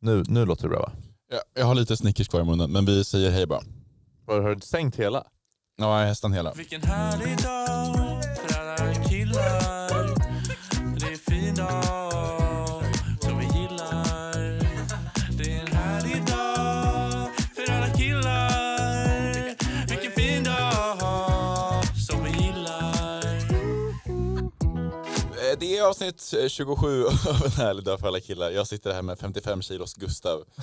Nu, nu låter det bra va? Jag, jag har lite Snickers kvar i munnen, men vi säger hej bara. Har du sänkt hela? Ja, hästen hela. Vilken härlig dag för alla killar Det är en fin dag som vi gillar Det är en härlig dag för alla killar Vilken fin dag som vi gillar Eh, Det är avsnitt eh, 27 av En härlig dag för alla killar. Jag sitter här med 55 kilos Gustav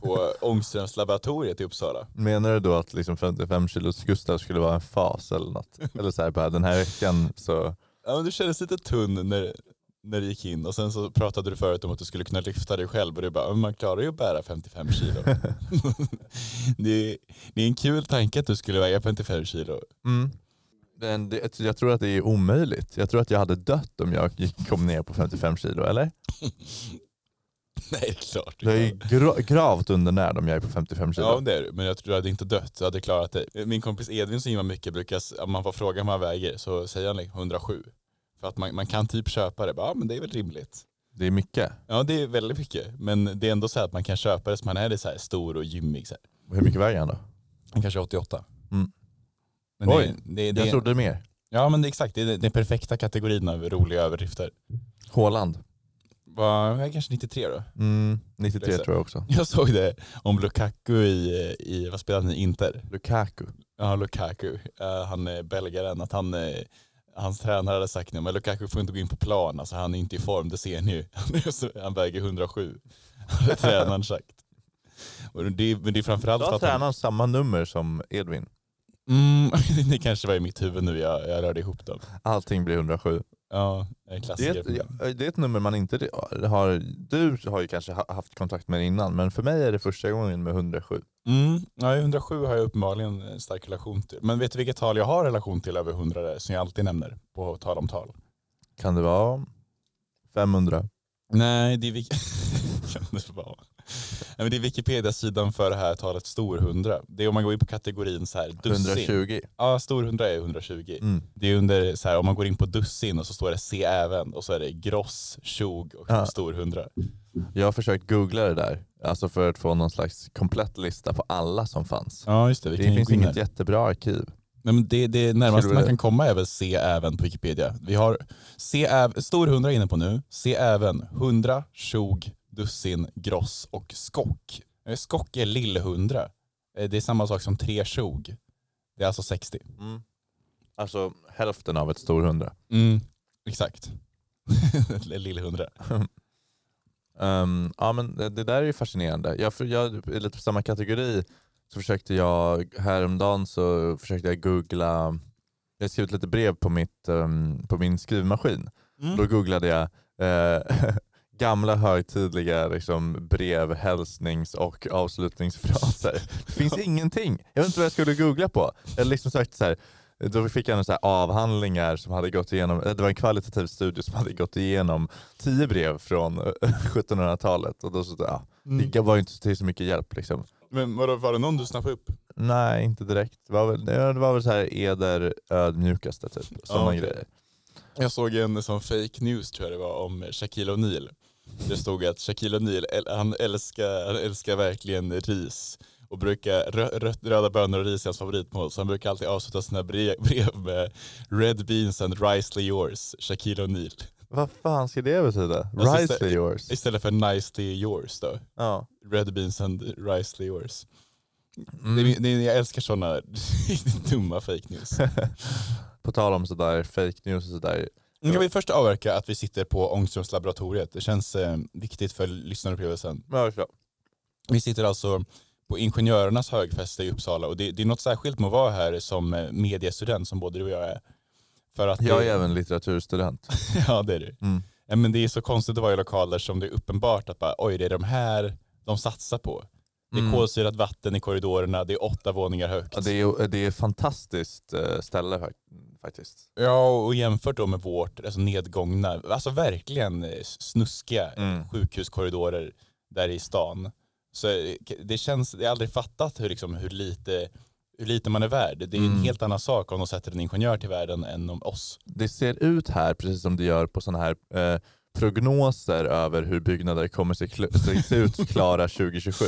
på Ångströms laboratoriet i Uppsala. Menar du då att liksom 55 kilos Gustav skulle vara en fas eller något? Eller så här, bara, den här veckan så... Ja, men du kändes lite tunn när, när du gick in och sen så pratade du förut om att du skulle kunna lyfta dig själv och du bara, "Men man klarar ju att bära 55 kilo. det, är, det är en kul tanke att du skulle väga 55 kilo. Mm. Men det, jag tror att det är omöjligt. Jag tror att jag hade dött om jag gick, kom ner på 55 kilo, eller? Nej, det är klart. du Jag är kan. ju gra, gravt undernärd om jag är på 55 kilo. Ja det är du, men jag tror du hade inte dött, du hade klarat det. Min kompis Edvin som gymmar mycket brukar, s- om man får fråga om han väger så säger han liksom 107. För att man, man kan typ köpa det, Bara, ja men det är väl rimligt. Det är mycket. Ja det är väldigt mycket, men det är ändå så här att man kan köpa det så man är lite så här stor och gymmig. Så här. Hur mycket väger han då? Han kanske är 88. Mm. Men det, Oj, det, det, Jag trodde mer. Ja men det är exakt, det är den perfekta kategorin av roliga överdrifter. Håland. Va, jag är kanske 93 då. Mm, 93 Exakt. tror jag också. Jag såg det om Lukaku i, eh, i vad spelade han i, Inter? Lukaku. Ja, Lukaku. Eh, han är belgaren. Att han, eh, hans tränare hade sagt nu, men Lukaku får inte gå in på plan. Alltså, han är inte i form, det ser ni ju. Han är så- han väger 107. Hade tränaren sagt. Och det, är- men det är framförallt Sa för att han... tränaren samma nummer som Edvin? Mm, det kanske var i mitt huvud nu, jag, jag rörde ihop dem. Allting blir 107. Ja, en Det är, klassiker. ett, ja, det är ett nummer man inte har. Du har ju kanske ha- haft kontakt med det innan, men för mig är det första gången med 107. Mm, ja, 107 har jag uppenbarligen en stark relation till. Men vet du vilket tal jag har relation till över 100 där, som jag alltid nämner på tal om tal? Kan det vara 500? Nej, det är, Wik- kan det vara. Nej, men det är Wikipedia-sidan för det här talet stor 100. Det är om man går in på kategorin så här dussin. 120? Ja, stor 100 är 120. Mm. Det är under så här, om man går in på dussin och så står det se även och så är det gross, tjog och Ja. stor 100. Jag har försökt googla det där, alltså för att få någon slags komplett lista på alla som fanns. Ja, just det. Vi Det kan ju finns gå in inget där. jättebra arkiv. Nej, men det, det närmaste Skulle- man kan komma är väl se även på Wikipedia. Vi har se äv, stor 100 inne på nu, se även 100, tjog, dussin, gross och skock. Eh, Skock är lillhundra. Eh, Det är samma sak som tre tjog. Det är alltså 60. Mm. Alltså hälften av ett stor 100. Exakt. lillhundra. Ehm, ja, men det, det där är ju fascinerande. Jag, för- jag, I lite på samma kategori så försökte jag häromdagen så försökte jag googla, jag har skrivit lite brev på, mitt, ehm, på min skrivmaskin. Då googlade jag eh, gamla högtidliga liksom, brev, hälsnings och avslutningsfraser. Det finns ingenting. Jag vet inte vad jag skulle googla på. Jag liksom sökte så här, då fick jag en så här avhandlingar som hade gått igenom, eh, det var en kvalitativ studie som hade gått igenom tio brev från eh, 1700-talet. Och då så, ja, Mm. Det var ju inte till så mycket hjälp. Liksom. Men vadå, var det någon du snappade upp? Nej, inte direkt. Det var väl, det var väl så här eder ödmjukaste typ. Sådana okej. grejer. Jag såg en sån fake news tror jag det var om Shaquille O'Neal. Det stod att Shaquille O'Neal, äl- han älskar, han älskar verkligen ris och brukar, rö, rö, röda bönor och ris är hans favoritmål. Så han brukar alltid avsluta sina brev, brev med Red beans and ricely yours, Shaquille O'Neal. Vad fan ska det betyda? Alltså, Rise så- to yours. Istället för nicely yours då. Ja. Red beans and ricely yours. Mm. Det, det, jag älskar sådana riktigt dumma fake news. På tal om sådär fake news och sådär. Nu kan vi först avverka att vi sitter på Ångströms laboratoriet. Det känns eh, viktigt för lyssnarupplevelsen. Vi sitter alltså på Ingenjörernas högfäste i Uppsala och det, det är något särskilt med att vara här som eh, mediestudent som både du och jag är. För att Jag det, är även litteraturstudent. ja, det är du. Mm. Ja, Men det är så konstigt att vara i lokaler som det är uppenbart att bara, oj det är de här de satsar på. Det är Mm. kolsyrat vatten i korridorerna, det är åtta våningar högt. Ja, Det är, det är ett fantastiskt eh, ställe fak- faktiskt. Ja, och jämfört då med vårt alltså nedgångna, alltså verkligen eh, snuskiga Mm. sjukhuskorridorer där i stan. Så eh, det känns, jag har aldrig fattat hur, liksom, hur, lite, hur lite man är värd. Det är en Mm. helt annan sak om de sätter en ingenjör till världen än om oss. Det ser ut här precis som det gör på sådana här eh, prognoser över hur byggnader kommer se, kl- se- se ut klara 2027.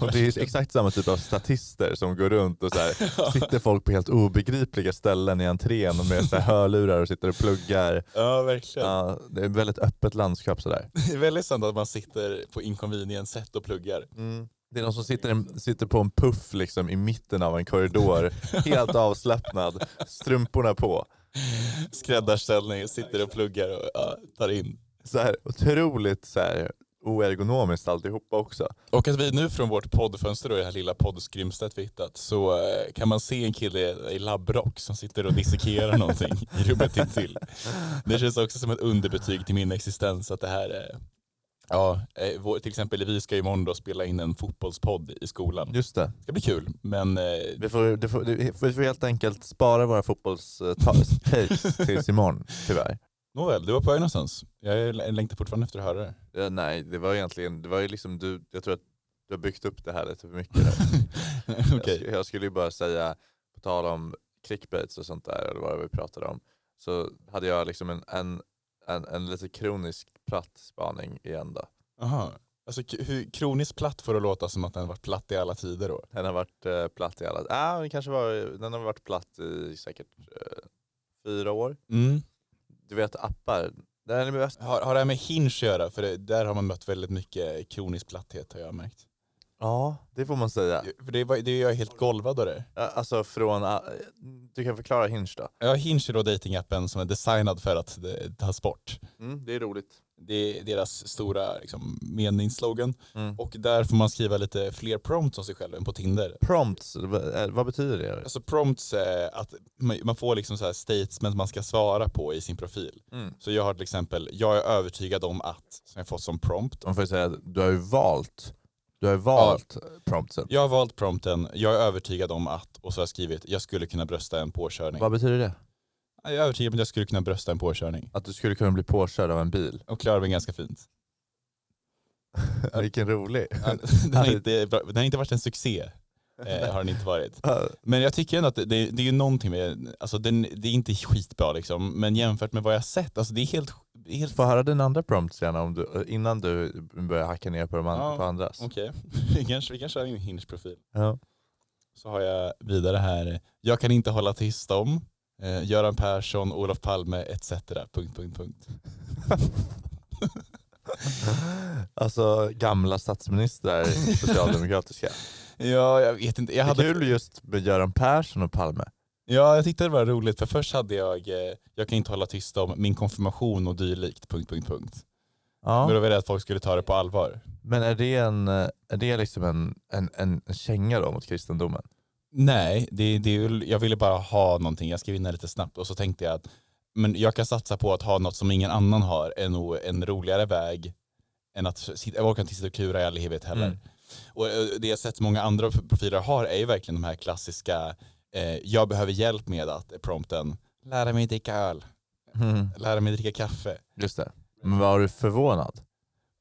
Och det är exakt samma typ av statister som går runt och så här, sitter folk på helt obegripliga ställen i entrén med så här hörlurar och sitter och pluggar. Ja, verkligen. Ja, det är ett väldigt öppet landskap sådär. Det är väldigt sant att man sitter på inconvenience sätt och pluggar. Mm. Det är någon som sitter, sitter på en puff liksom i mitten av en korridor, helt avslappnad, strumporna på. Skräddarställning, sitter och pluggar och ja, tar in. Så här, otroligt så här, oergonomiskt alltihopa också. Och att vi nu från vårt poddfönster och det här lilla poddskrymslet vi hittat så eh, kan man se en kille i labbrock som sitter och dissekerar någonting i rummet intill. Det känns också som ett underbetyg till min existens att det här är Ja, eh, vår, till exempel vi ska imorgon då spela in en fotbollspodd i skolan. Det Just det. ska bli kul, men eh, Vi får, det får, det, vi får helt enkelt spara våra fotbollstakes tills imorgon, tyvärr. nåväl, du var på väg någonstans. Jag längtar fortfarande efter att höra det. Ja, nej, det var egentligen, det var ju liksom du, jag tror att du har byggt upp det här lite för mycket. där. Okej. Jag, skulle, jag skulle ju bara säga, på tal om clickbaits och sånt där, eller vad vi pratade om, så hade jag liksom en, en, en, en lite kronisk platt spaning igen då. Aha. Alltså k- hur kroniskt platt får det låta som att den har varit platt i alla tider då? Den har varit eh, platt i alla, ah, den kanske var, den har varit platt i säkert eh, fyra år. Du vet appar, den är bäst. Har, har det här med Hinge att göra? För det, där har man mött väldigt mycket kronisk platthet har jag märkt. Ja, det får man säga. För det, var, det är jag helt golvad av det. Ja, Alltså från, ah, du kan förklara Hinge då. Ja, Hinge är då datingappen som är designad för att det, tas bort. Mm, det är roligt. Det är deras stora liksom, meningsslogan. Mm. Och där får man skriva lite fler prompts om sig själv än på Tinder. Prompts, vad eh, vad betyder det? Alltså prompts är att man- man får liksom så här statements man ska svara på i sin profil. Mm. Så jag har till exempel, jag är övertygad om att, som jag fått som prompt. Man får ju säga att du har ju valt, du har ju valt promptsen. Jag har valt prompten, jag är övertygad om att, och så har jag skrivit, jag skulle kunna brösta en påkörning. Vad betyder det? Jag är övertygad om att jag skulle kunna brösta en påkörning. Att du skulle kunna bli påkörd av en bil. Och klarar mig ganska fint. Vilken rolig. Den har inte, den har inte varit en succé. Eh, har den inte varit. Men jag tycker ändå att det, det, det är ju någonting med, alltså den, det är inte skitbra liksom, men jämfört med vad jag sett, alltså det är helt, det är helt Få höra dina andra prompts gärna om du, innan du börjar hacka ner på, de an- Ja. på andras. Okej, vi kanske vi kan köra in Hinge-profil. Ja. Så har jag vidare här, jag kan inte hålla tyst om, eh, Göran Persson, Olof Palme etc. Punkt, punkt, punkt. Alltså gamla statsministrar, socialdemokratiska. Ja, jag vet inte. Jag Det är hade... kul just med Göran Persson och Palme. Ja, jag tyckte det var roligt för först hade jag, eh, jag kan inte hålla tyst om min konfirmation och dylikt, punkt, punkt, punkt. Ja. Men då var jag rädd att folk skulle ta det på allvar. Men är det, en, eh, är det liksom en, en, en känga då mot kristendomen? Nej, det, det, är ju- jag ville bara ha någonting. Jag skrev in det lite snabbt och så tänkte jag att men jag kan satsa på att ha något som ingen annan har, är nog en roligare väg än att sitta, jag orkar inte sitta och kura i all evighet heller. Mm. Och eh, det jag har sett många andra profiler har är ju verkligen de här klassiska, eh, jag behöver hjälp med att eh, prompten, lära mig dricka öl, Mm. lära mig dricka kaffe. Just det. Men var du förvånad?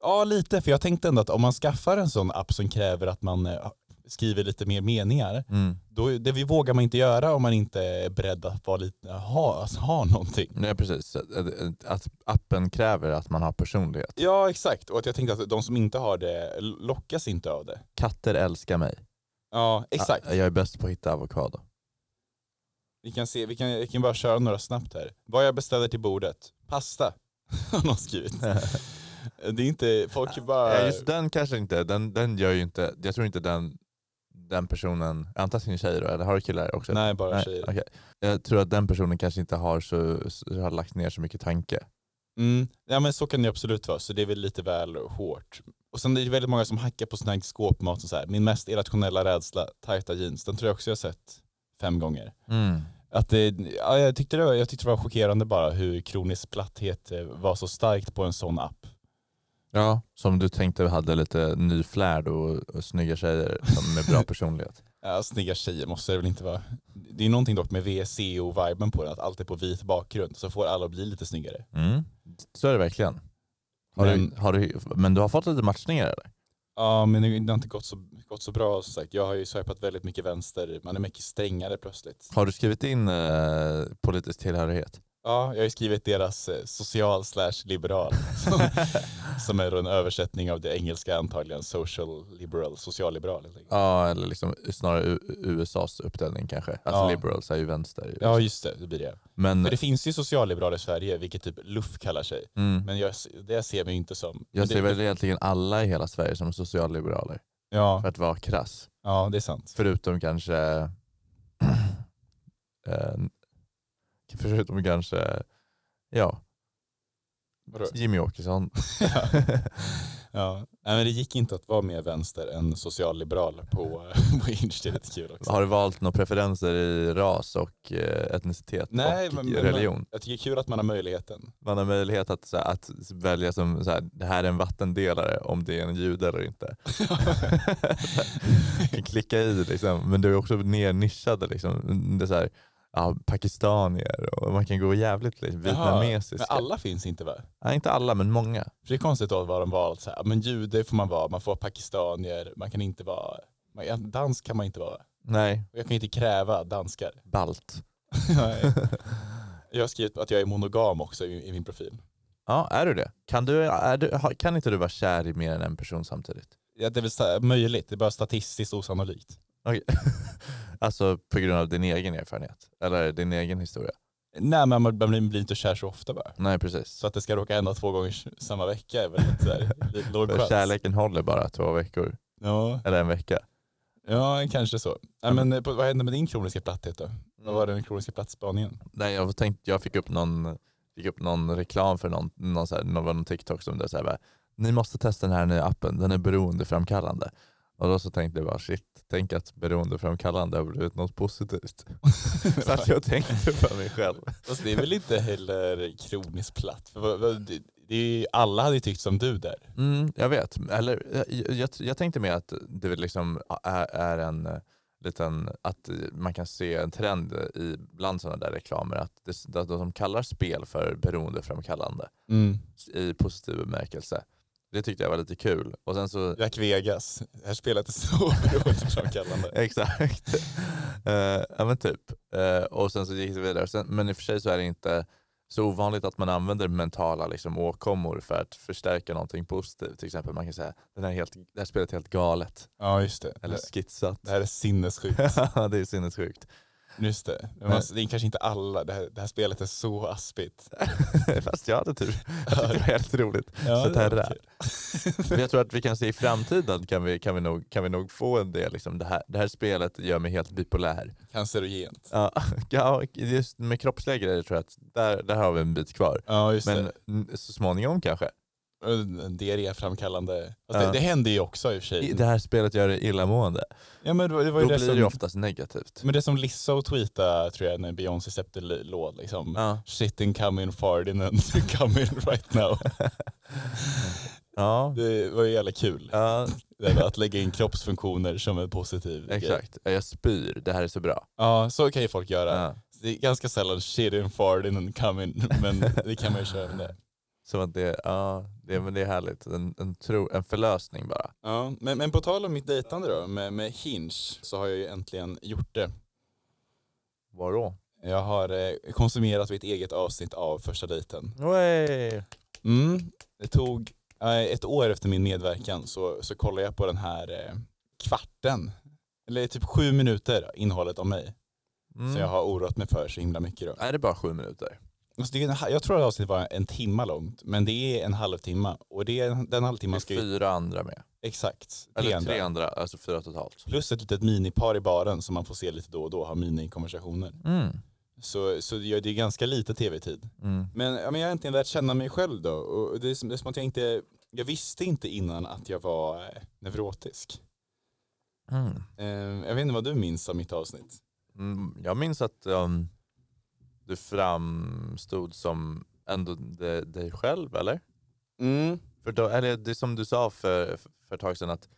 Ja, lite. För jag tänkte ändå att om man skaffar en sån app som kräver att man eh, skriver lite mer meningar, Mm. då det vi vågar man inte göra om man inte är beredd att vara lite, ha, alltså, ha någonting. Nej precis, Att- att appen kräver att man har personlighet. Ja, exakt. Och att jag tänkte att de som inte har det lockas inte av det. Katter älskar mig. Ja, exakt. Jag är bäst på att hitta avokado. Vi kan se, vi kan, jag kan bara köra några snabbt här. Vad jag beställer till bordet? Pasta, har någon skrivit. Det är inte, folk är Ja, bara... just den kanske inte, den, den gör ju inte, jag tror inte den, den personen, antagligen tjejer då, eller har du killar också? Nej, bara Nej, tjejer. okej. Jag tror att den personen kanske inte har, så, så, har lagt ner så mycket tanke. Mm. Ja men så kan det absolut vara, så det är väl lite väl hårt. Och sen är det väldigt många som hackar på sån här skåpmat och så här. Min mest irrationella rädsla, tajta jeans, den tror jag också jag sett fem gånger. Mm. Att det, ja, jag, tyckte det var, jag tyckte det var chockerande bara hur kronisk platthet eh, var så starkt på en sån app. Ja. Som du tänkte hade lite ny flärd och, och snygga tjejer som med bra personlighet. Ja, snygga tjejer måste det väl inte vara. Det är någonting dock med VSCO-viben på den, att allt är på vit bakgrund så får alla bli lite snyggare. Mm. Så är det verkligen. Har men, du, Men- har du, men du har fått lite matchningar eller? Ja men det har inte gått så, gått så bra som sagt. Jag har ju swipat väldigt mycket vänster, man är mycket strängare plötsligt. Har du skrivit in eh, politisk tillhörighet? Ja, jag har ju skrivit deras eh, social slash liberal som, som är då en översättning av det engelska antagligen social liberal, social liberal. helt enkelt. Ja, eller liksom snarare U- USAs uppdelning kanske. Alltså Ja. liberals är ju vänster. Ju. Ja, just det, det blir det. Men För det finns ju socialliberal i Sverige, vilket typ LUF kallar sig. mm, Men jag, det ser vi inte som. jag ser det, väl egentligen alla i hela Sverige som socialliberaler, Ja, för att vara krass. ja, det är sant. Förutom kanske... eh, förutom kanske... Ja, Vadå? Jimmy Åkesson. Ja. Nej, men det gick inte att vara mer vänster än socialliberal på, på Hinge. Det är lite kul också. Har du valt några preferenser i ras och eh, etnicitet Nej, och men- i- men- religion? Jag tycker det är kul att man har möjligheten. Man har möjlighet att, så här, att välja som så här, det här är en vattendelare om det är en jude eller inte. Du kan klicka i liksom, men du är också nernischade. Liksom. Det är så här, ja, pakistanier och man kan gå jävligt liksom, Jaha, vietnamesiska. Men alla finns inte va? Nej, inte alla men många. För det är konstigt då vad de valt. Så här, men jude får man vara, man får vara pakistanier, man kan inte vara, man, ja, dansk kan man inte vara. Nej, Och Jag kan inte kräva danskar. balt. Nej. jag har skrivit att jag är monogam också i, i min profil. Ja, är du det? Kan, du, är du, har- kan inte du vara kär i mer än en person samtidigt? Ja, det är väl så här, möjligt, det är bara statistiskt osannolikt. Okej. alltså på grund av din egen erfarenhet? Eller din egen historia? Nej, men man blir, blir inte kär så ofta bara. Nej precis. Så att det ska råka hända två gånger samma vecka är väl lite så här, lite låg För chans. kärleken håller bara två veckor. Ja, Eller en vecka. ja, kanske så. Nej, men eh, på, vad hände med din kroniska platthet då? Vad var den kroniska platsspaningen? Nej, jag, tänkte, jag fick upp någon, fick upp någon reklam för någon, någon, så här, någon, någon TikTok som det så här, bara, ni måste testa den här nya appen, den är beroendeframkallande. Och då så tänkte jag bara shit, tänk att beroendeframkallande har blivit något positivt. så att jag tänkte på mig själv. Fast det är väl inte heller kroniskt platt? För vad- vad- det, det är ju, alla hade ju tyckt som du där. Mm, jag vet. Eller, eh, jag, jag, jag tänkte mer att det liksom är, är en eh, liten, att eh, man kan se en trend eh, i, bland sådana där reklamer att, det, att de som kallar spel för beroendeframkallande Mm. i positiv bemärkelse. Det tyckte jag var lite kul. Och sen så, Jack Vegas, det här spelet är så beroendeframkallande. exakt. Eh, ja men typ. Eh, och sen så gick det vidare. Sen, men i och för sig så är det inte så ovanligt att man använder mentala liksom, åkommor för att förstärka någonting positivt. Till exempel man kan säga, den här är helt, det här spelet är helt galet. Ja just det. Eller Det- skitsat. Det här är sinnessjukt. Ja, det är sinnessjukt. Just det. Men man, det är kanske inte alla, det här, det här spelet är så aspigt. Fast jag hade tur. Jag tyckte det var helt roligt. Ja, Så det det här var är det. Men jag tror att vi kan se i framtiden kan vi, kan vi, nog, kan vi nog få en del, liksom, det, här, det här spelet gör mig helt bipolär. Cancerogent. Ja, ja, och just med kroppsliga grejer tror jag att där, där har vi en bit kvar. Ja just Men det. n- så småningom kanske. Diarréframkallande. Alltså, Ja. det, det händer ju också i och för sig. I- Det här spelet gör dig illamående. Ja, men det var, det var Då ju blir det som, det oftast negativt. Men det som Lizzo tweetade tror jag när Beyoncé släppte l- låt liksom. Ja. Shit in come in Ferdinand, come in right now. Ja, Det var ju jävla kul. ja, Det här med Att lägga in kroppsfunktioner som en positiv grej. exakt. Jag spyr, det här är så bra. Ja, så kan ju folk göra. Ja. Det är ganska sällan shit in Ferdinand, come in, men det kan man ju köra med. Som att det, ja, det, men det är härligt. En, en, tro, en förlösning bara. Ja, men, men på tal om mitt dejtande då, med, med Hinge, så har jag ju äntligen gjort det. Vadå? Jag har eh, konsumerat mitt eget avsnitt av första dejten. Way. Mm. Det tog eh, ett år efter min medverkan så, så kollade jag på den här eh, kvarten. Eller typ sju minuter innehållet om mig. Mm. Som jag har oroat mig för så himla mycket. Då. Är det bara sju minuter? Alltså, det är en, ha- jag tror att avsnittet var en timma långt, men det är en halvtimme. Och det är den halvtimman Man ska ju... fyra andra med. Exakt. Eller det är en tre där. andra, alltså fyra totalt. Plus ett litet minipar i baren som man får se lite då och då, ha minikonversationer. Mm. Så, så det det är ganska lite tv-tid. Mm. Men, ja, men jag har äntligen lärt känna mig själv då. Och det, är som, det är som att jag inte, jag visste inte innan att jag var eh, neurotisk. Mm. Eh, jag vet inte vad du minns av mitt avsnitt. Mm. Jag minns att um, du framstod som ändå de, dig själv, eller? Mm. För då, eller det som du sa för, för ett tag sedan, att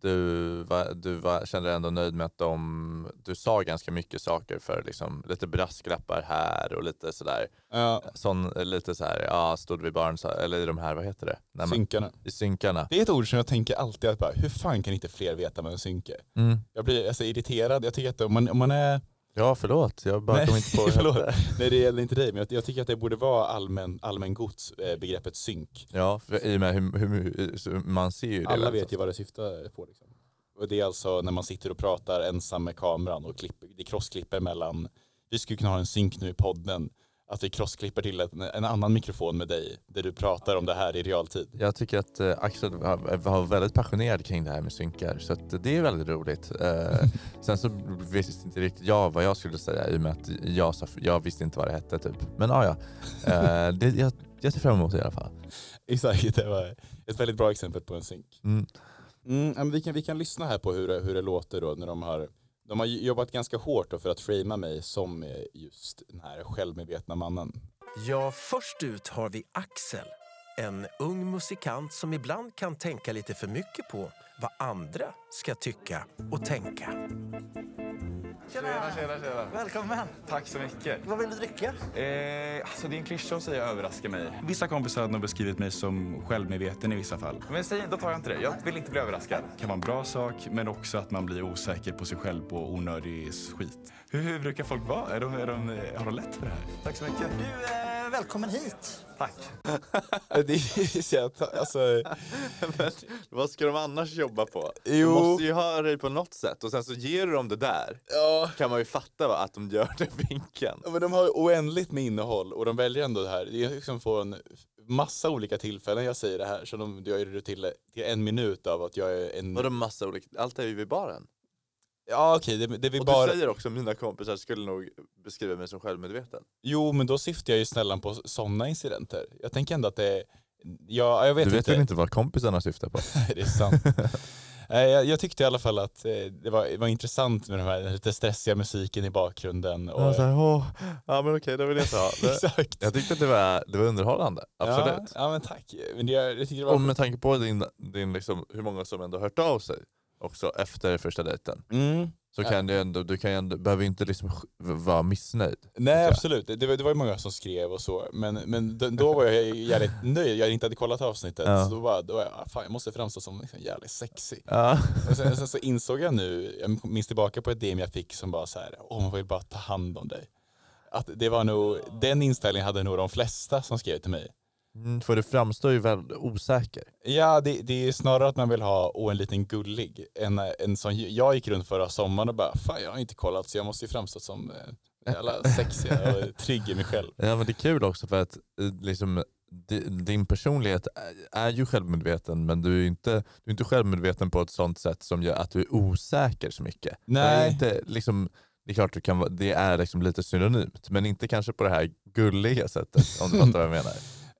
du, var, du var, kände dig ändå nöjd med att de, du sa ganska mycket saker för liksom, lite brasklappar här och lite sådär. Ja, Sån, lite så här, ja, stod vi barn, så, eller i de här, vad heter det? Nej, men, synkarna. I synkarna. Det är ett ord som jag tänker alltid att bara, hur fan kan inte fler veta vad en synk är? Mm. Jag blir alltså, irriterad. Jag tycker att om man, om man är Ja, förlåt. Jag bara Nej, kom inte på det. förlåt. Nej det gäller inte dig men jag, jag tycker att det borde vara allmän, allmän gods, eh, begreppet synk. Ja, för, i och med hur, hur, så man ser ju det. Alla väl, vet ju vad det syftar på. Liksom. Och det är alltså när man sitter och pratar ensam med kameran och klipper, det krossklipper mellan, vi skulle kunna ha en synk nu i podden, att vi krossklipper till en, en annan mikrofon med dig där du pratar om det här i realtid. Jag tycker att eh, Axel var, var väldigt passionerad kring det här med synkar så att det är väldigt roligt. Eh, sen så visste inte riktigt jag vad jag skulle säga i och med att jag, sa, jag visste inte vad det hette typ. Men ah, ja, eh, det, jag, jag ser fram emot det i alla fall. Exakt, det var ett väldigt bra exempel på en synk. Mm. Mm, ja, men vi, kan, vi kan lyssna här på hur, det- hur det låter då när de har de har ju jobbat ganska hårt då för att framea mig som eh, just den här självmedvetna mannen. Ja, först ut har vi Axel. En ung musikant som ibland kan tänka lite för mycket på vad andra ska tycka och tänka. Tjena, tjena, tjena. Välkommen! Tack så mycket. Vad vill du dricka? Eh, alltså det är en klyscha att säga överraska mig. Vissa kompisar har nog beskrivit mig som självmedveten i vissa fall. Men säg, då tar jag inte det. Jag vill inte bli överraskad. kan vara en bra sak, men också att man blir osäker på sig själv på onödig skit. Hur, hur brukar folk vara? Är de, är de, har de lätt för det här? Tack så mycket. Du, eh, välkommen hit! Tack. Det är så jag ta- alltså, Vad ska de annars jobba på? Jo. måste ju ha dig på något sätt och sen så ger du dem det där. ja, Kan man ju fatta va, att de gör den vinkeln. men de har ju oändligt med innehåll och de väljer ändå det här. Det är liksom från massa olika tillfällen jag säger det här så de gör det till, till en minut av att jag är en... Vadå massa olika, allt är ju vid baren. Ja okej, det, det vi Och bara... du säger också mina kompisar skulle nog beskriva mig som självmedveten. Jo men då syftar jag ju snällan på sådana incidenter. Jag tänker ändå att det är... Ja, jag vet, Du vet inte. väl inte vad kompisarna syftar på? Nej, det är sant. Nej, jag, jag tyckte i alla fall att eh, det var, det var intressant med den här lite stressiga musiken i bakgrunden. Och, Och så här, åh, ja men okej, det vill jag inte ha. Det- Exakt. Jag tyckte att det var, det var underhållande, absolut. Ja, ja men tack. Men det, jag tyckte det var... Och med tanke på din, din liksom, hur många som ändå hört av sig också efter första dejten, Mm. så kan du ändå, du kan ju ändå, behöver ju inte liksom sk- vara missnöjd. Nej absolut, det, det, var, det var ju många som skrev och så. Men, men d- då var jag jävligt nöjd, jag hade inte hade kollat avsnittet. Ja. Så då, var, då var jag, "Ah, fan jag måste framstå som liksom jävligt sexy. Ja. Och sen, sen så insåg jag nu, jag minns tillbaka på ett DM jag fick som bara så här, åh man vill bara ta hand om dig. Att det var nog, den inställningen hade nog de flesta som skrev till mig. Mm, För du framstår ju väldigt osäker. Ja, det, det är snarare att man vill ha och en liten gullig. En, en som jag gick runt förra sommaren och bara, fan jag har inte kollat så jag måste ju framstå som eh, jävla sexiga och trygg i mig själv. Ja men det är kul också för att eh, liksom, di- din personlighet är- är ju självmedveten men du är ju inte, du är inte självmedveten på ett sånt sätt som gör att du är osäker så mycket. Det är, Nej. inte, liksom, det är klart du kan, vara- det är liksom lite synonymt men inte kanske på det här gulliga sättet om du fattar vad jag menar.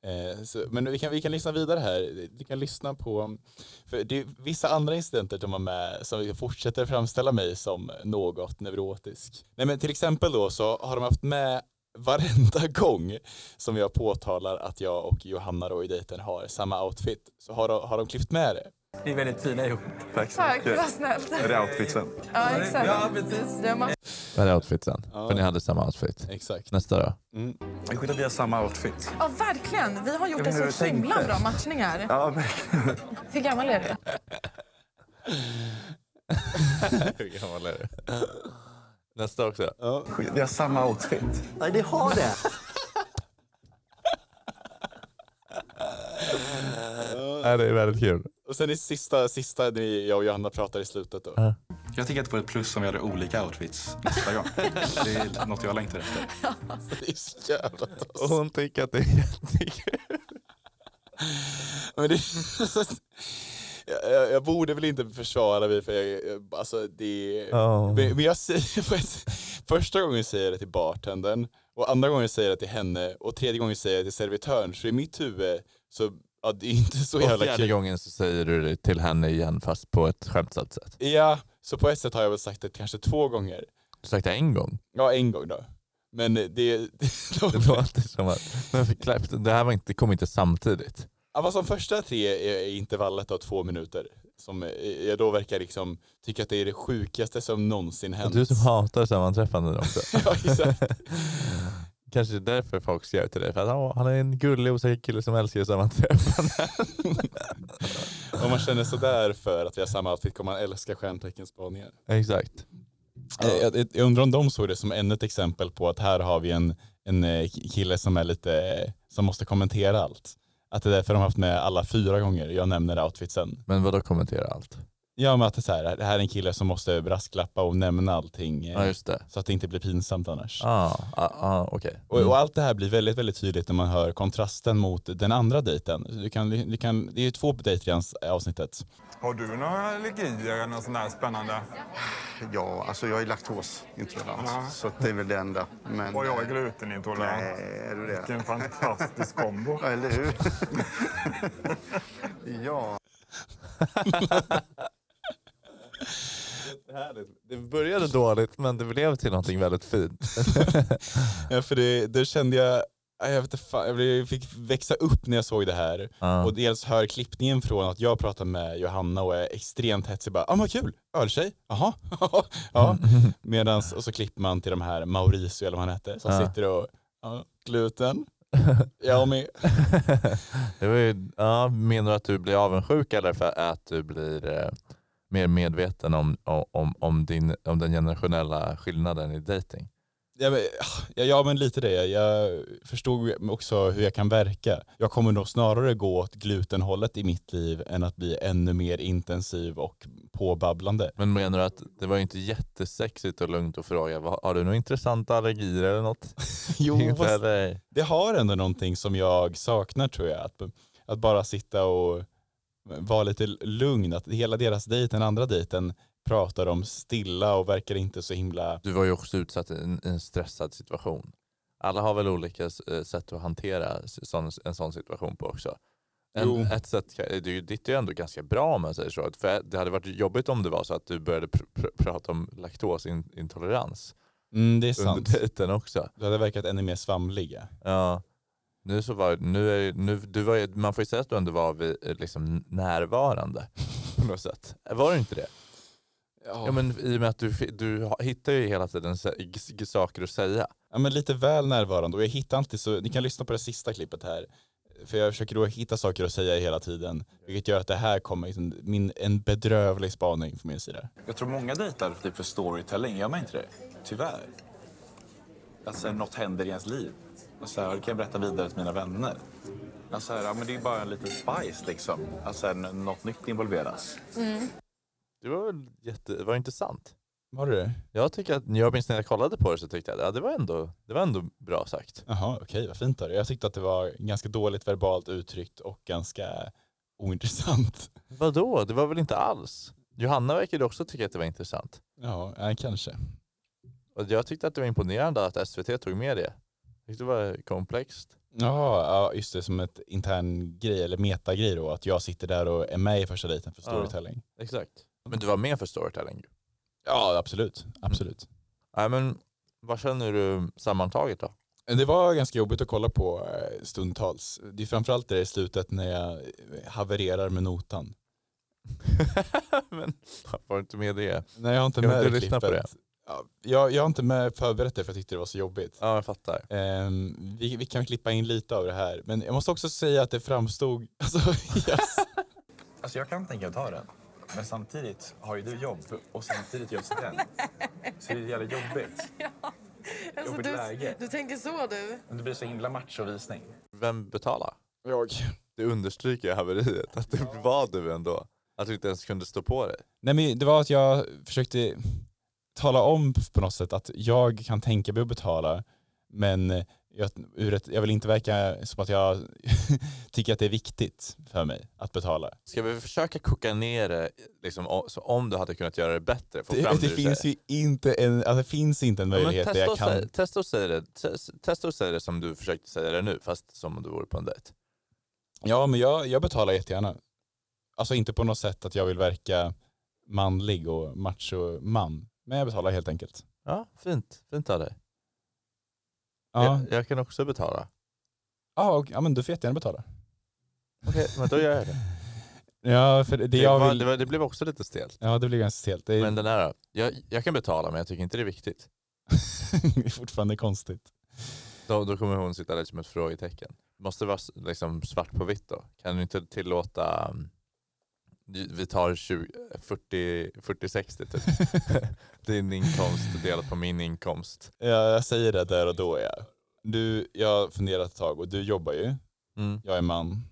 Eh, så, men vi kan, vi kan lyssna vidare här. Vi kan lyssna på, för det är vissa andra incidenter de har med som fortsätter framställa mig som något neurotisk. Nej men till exempel då så har de haft med varenda gång som jag påtalar att jag och Johanna då i dejten har samma outfit så har de, har de klippt med det. Ni är väldigt fina ihop. Tack, vad snällt. Är det outfitsen? Ja, exakt. Ja, precis. Det var Vad är outfiten? Ja. För ni hade samma outfit. Exakt. Nästa då? Det är skit att vi har samma outfit. ja, verkligen. Vi har gjort en så hur tänkte? himla bra matchning här. Ja, men... Hur gammal är du? Hur gammal är du? Nästa också. skit, Vi har samma outfit. Nej, ni har det! Ja, det är väldigt kul. Och sen det sista, sista det är jag och Johanna pratar i slutet då. Jag tycker att det var ett plus om vi hade olika outfits nästa gång. Det är något jag längtar efter. Det är så jävla Och hon tycker att det är jättekul. Men det, jag, jag, jag borde väl inte försvara mig för jag, jag, alltså det... Ja. Men, men jag säger, på ett- första gången säger jag det till bartendern och andra gången säger jag det till henne och tredje gången säger jag det till servitören. Så i mitt huvud så, ja det är inte så Och jävla fjärde kul. gången så säger du det till henne igen fast på ett skämtsamt sätt. Ja, så på ett sätt har jag väl sagt det kanske två gånger. Du sagt det en gång. Ja, en gång då. Men det... det Det låter som att men för Clapton, det här var inte, det kom inte samtidigt. Ja, vad som första tre är är intervallet av två minuter. Som eh, jag då verkar liksom tycka att det är det sjukaste som någonsin Och hänt. du som hatar sammanträffanden också. ja, exakt. Kanske det är därför folk skrev till dig. För att han, han är en gullig osäker kille som älskar sammanträffanden. Om man känner sådär för att vi har samma outfit kommer man älska stjärnteckenspaningar. Exakt. Eh, Jag, jag, jag undrar om de såg det som ännu ett exempel på att här har vi en, en eh, kille som är lite, eh, som måste kommentera allt. Att det är därför de har haft med alla fyra gånger jag nämner outfitsen. Men vadå kommentera allt? Ja men att det, är så här, det här är en kille som måste brasklappa och nämna allting eh, Ja just det. så att det inte blir pinsamt annars. Ah, ah, ah, okej. Och, och allt det här blir väldigt, väldigt tydligt när man hör kontrasten mot den andra dejten. Du kan, du kan, det är ju två dejter i hans- eh, avsnittet. Har du några allergier eller något sånt där spännande? Ja, alltså jag är laktosintolerant, så det är väl det enda. Men, Och jag är glutenintolerant. Nej, är du det? Vilken fantastisk kombo. Ja, eller hur? ja. Det började dåligt men det blev till någonting väldigt fint. Ja, för det, det kände jag, aj, jag, vet inte, fan, jag blev- fick växa upp när jag såg det här. Ah. Och dels hör klippningen från att jag pratar med Johanna och är extremt hetsig. Bara, ah, men vad kul, öltjej, jaha. ja. Medans, och så klipper man till de här Mauricio eller vad han hette som Ja. sitter och, ja, gluten. Jag med. Det var ju, ja, menar du att du blir avundsjuk eller för att du blir eh, mer medveten om, om, om, din, om den generationella skillnaden i dating? Ja men, ja, ja men lite det. Jag förstod ju också hur jag kan verka. Jag kommer nog snarare gå åt glutenhållet i mitt liv än att bli ännu mer intensiv och påbabblande. Men menar du att det var ju inte jättesexigt och lugnt att fråga "Vad- har du några intressanta allergier eller något? Jo, Inför fast dig? det har ändå någonting som jag saknar tror jag. Att, att bara sitta och vara lite lugn. Att hela deras dejt, den andra dejten, pratar om stilla och verkar inte så himla... Du var ju också utsatt i en, i en stressad situation. Alla har väl olika eh, sätt att hantera s- sån, en sån situation på också. Jo. En, ett sätt, kan- det är ju, ditt är ju ändå ganska bra om man säger så. För det hade varit jobbigt om det var så att du började pr pr prata om laktosintolerans Mm, det är sant. under dejten också. Du hade verkat ännu mer svamliga. Ja. Nu så var, nu är, nu, du var, ju- man får ju säga att du ändå var vid, eh, liksom närvarande på något sätt. Var du inte det? Ja, men I och med att du, fi- du ha- hittar ju hela tiden sä- g- g- saker att säga. Ja, men lite väl närvarande och jag hittar alltid så, ni kan lyssna på det sista klippet här. För jag försöker då hitta saker att säga hela tiden. Vilket gör att det här kommer liksom, min, en bedrövlig spaning från min sida. Jag tror många dejtar typ för storytelling, gör man inte det? Tyvärr. Alltså något händer i ens liv. Och så här, det kan jag berätta vidare till mina vänner. Alltså, här, ja, men det är bara en liten spice liksom. Alltså, här, n- något nytt involveras. Det var väl jätte, det var intressant. Var det det? Jag tycker att, jag minns när jag kollade på det så tyckte jag att ja, det, var ändå, det var ändå bra sagt. Jaha, okej, vad fint av dig. Jag tyckte att det var ganska dåligt verbalt uttryckt och ganska ointressant. Vadå? Det var väl inte alls? Johanna verkade också tycka att det var intressant. Ja, eh, kanske. Och jag tyckte att det var imponerande att SVT tog med det. Jag tyckte det var komplext. Ja, ja, just det, som ett intern grej eller metagrej då. Att jag sitter där och är med i första dejten för Ja. storytelling. Exakt. Men du var med för storytelling. ju. Ja, absolut. Mm. Absolut. Nej, men vad känner du sammantaget då? Det var ganska jobbigt att kolla på eh, stundtals. Det är framförallt det där i slutet när jag eh, havererar med notan. men var inte med det? Nej, jag har inte Kan med inte det du lyssna på klippet. Ja, jag, jag har inte med förberett det för jag tyckte det var så jobbigt. Ja, jag fattar. Ehm, vi, vi kan klippa in lite av det här. Men jag måste också säga att det framstod... Alltså, yes. Alltså jag kan tänka att ta den. Men samtidigt har ju du jobb och samtidigt gör student. Så det är jävligt jobbigt. Alltså, Jobbigt du, läge. du tänker så du. Men det blir så himla machovisning. Vem betalar? jag. Det understryker ju haveriet, att det var du ändå. Att du inte ens kunde stå på dig. Nej, men det var att jag försökte tala om på något sätt att jag kan tänka mig att betala, men jag, ur ett, jag vill inte verka som att jag tycker att det är viktigt för mig att betala. Ska vi försöka koka ner det, liksom, o- så om du hade kunnat göra det bättre? Få Det, fram det, du finns säger. ju inte en, alltså, det finns inte en Ja, men möjlighet där testa, jag och kan... säga, testa och säga det. Test- Testa och säga det som du försökte säga det nu, fast som om du vore på en dejt. Ja, men jag, jag betalar jättegärna. Alltså inte på något sätt att jag vill verka manlig och macho man, men jag betalar helt enkelt. Ja, fint. Fint av dig. Ja, Jag, jag kan också betala. ja, och, ja men du får jättegärna betala. Okej, men då gör jag det. Ja, för det, det Det, jag var, vill... det, var, det blev också lite stelt. Ja, det blir ganska stelt. Det är, Men den här då? jag, jag kan betala men jag tycker inte det är viktigt. det är fortfarande konstigt. Då, då kommer hon sitta där som ett frågetecken. Måste det vara s- liksom svart på vitt då? Kan du inte tillåta um, vi tar 20, 40, 40, 60 typ. Din inkomst delat på min inkomst. Ja, jag säger det där och då. Ja. Du, jag har funderat ett tag och du jobbar ju. Mm. Jag är man.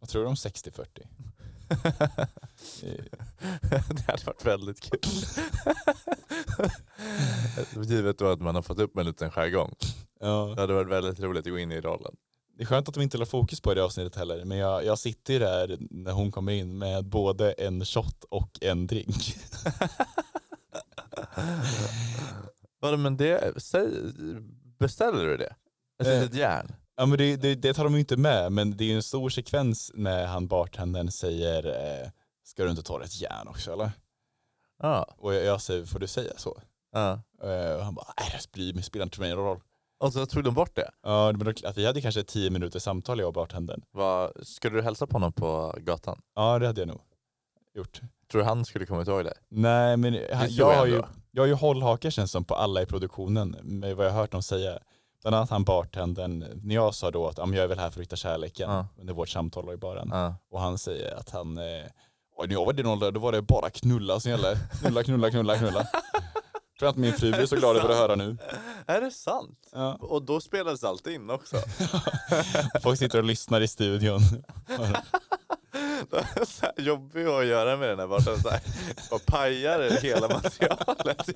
Vad tror du om 60-40? det hade varit väldigt kul. Givet då att man har fått upp en liten jargong. Ja. Det hade varit väldigt roligt att gå in i rollen. Det är skönt att de inte la fokus på det avsnittet heller, men jag, jag sitter ju där när hon kommer in med både en shot och en drink. Vadå, men det, säg, beställer du det? Ett Eh. litet järn? Ja, men det, det, det tar de ju inte med, men det är ju en stor sekvens när han bartendern säger eh, Ska du inte ta ett järn också eller? Ja. Och jag, jag säger, får du säga så? ja. Eh, och han bara, nej det bryr mig, spelar inte för mig någon roll. Och så tog de bort det. Ja, men då, att vi hade kanske tio minuters samtal jag och bartendern. Vad, skulle du hälsa på honom på gatan? Ja, det hade jag nog gjort. Tror du han skulle komma ihåg dig? Nej, men tror han, jag, har jag ju, ändå. jag har ju hållhakar känns som på alla i produktionen med vad jag har hört dem säga. Bland annat han bartendern, när jag sa då att "Ja, men jag är väl här för att hitta kärleken Ja. under vårt samtal i baren. Ja. Och han säger att han, eh, "Oj, när jag var i din ålder då var det bara knulla som gällde. Knulla, knulla, knulla, knulla. Tror att min fru blir så glad över att höra nu. Är det sant? Ja. Och då spelades allt in också. Folk sitter och lyssnar i studion. Det är så här jobbigt att göra med den här barten. Så här, och pajar hela materialet.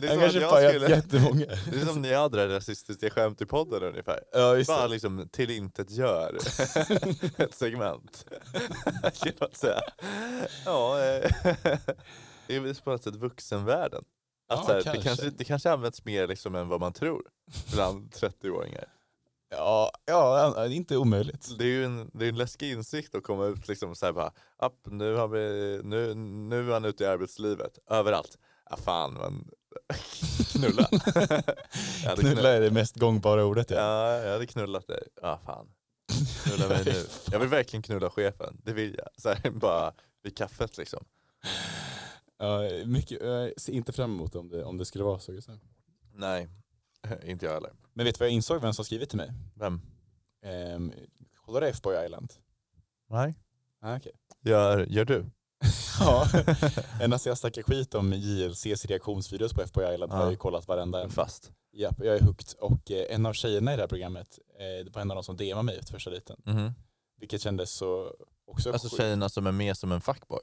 Det är som Han att kanske jag pajat skulle... jättemånga. Det är som när jag drar rasistiska skämt i podden ungefär. Ja, just Bara det. liksom till intet gör ett segment. Genom att säga. Ja, eh, det är väl på något sätt vuxenvärlden. Att Ja, så här, Det, kanske. kanske, det kanske används mer liksom än vad man tror bland 30-åringar. Ja, ja, det är inte omöjligt. Det är ju en, det är en läskig insikt att komma ut liksom så här bara, app, nu, har vi, nu, nu är han ute i arbetslivet, överallt. Ja fan, men knulla. jag hade Knulla är det mest gångbara ordet. Ja. Ja, jag hade knullat dig. Ja fan. Knulla mig nu. Jag vill verkligen knulla chefen, det vill jag. Så här, bara vid kaffet liksom. Ja, mycket, jag ser inte fram emot om det, om det skulle vara så. Gustav. Nej, inte jag heller. Men vet du vad jag insåg vem som skrivit till mig? Vem? Ehm, kollar du F-Boy Island? Nej. Ah, okay. Gör, gör du? ja. Endast jag snackar skit om JLCs reaktionsvideos på F-Boy Island har Ja. jag ju kollat varenda en. Fast. Japp, jag är hooked. Och eh, en av tjejerna i det här programmet eh, det var en av dem som DMade mig efter första dejten. Mhm. Vilket kändes så också Alltså sjukt. tjejerna som är med som en fuckboy.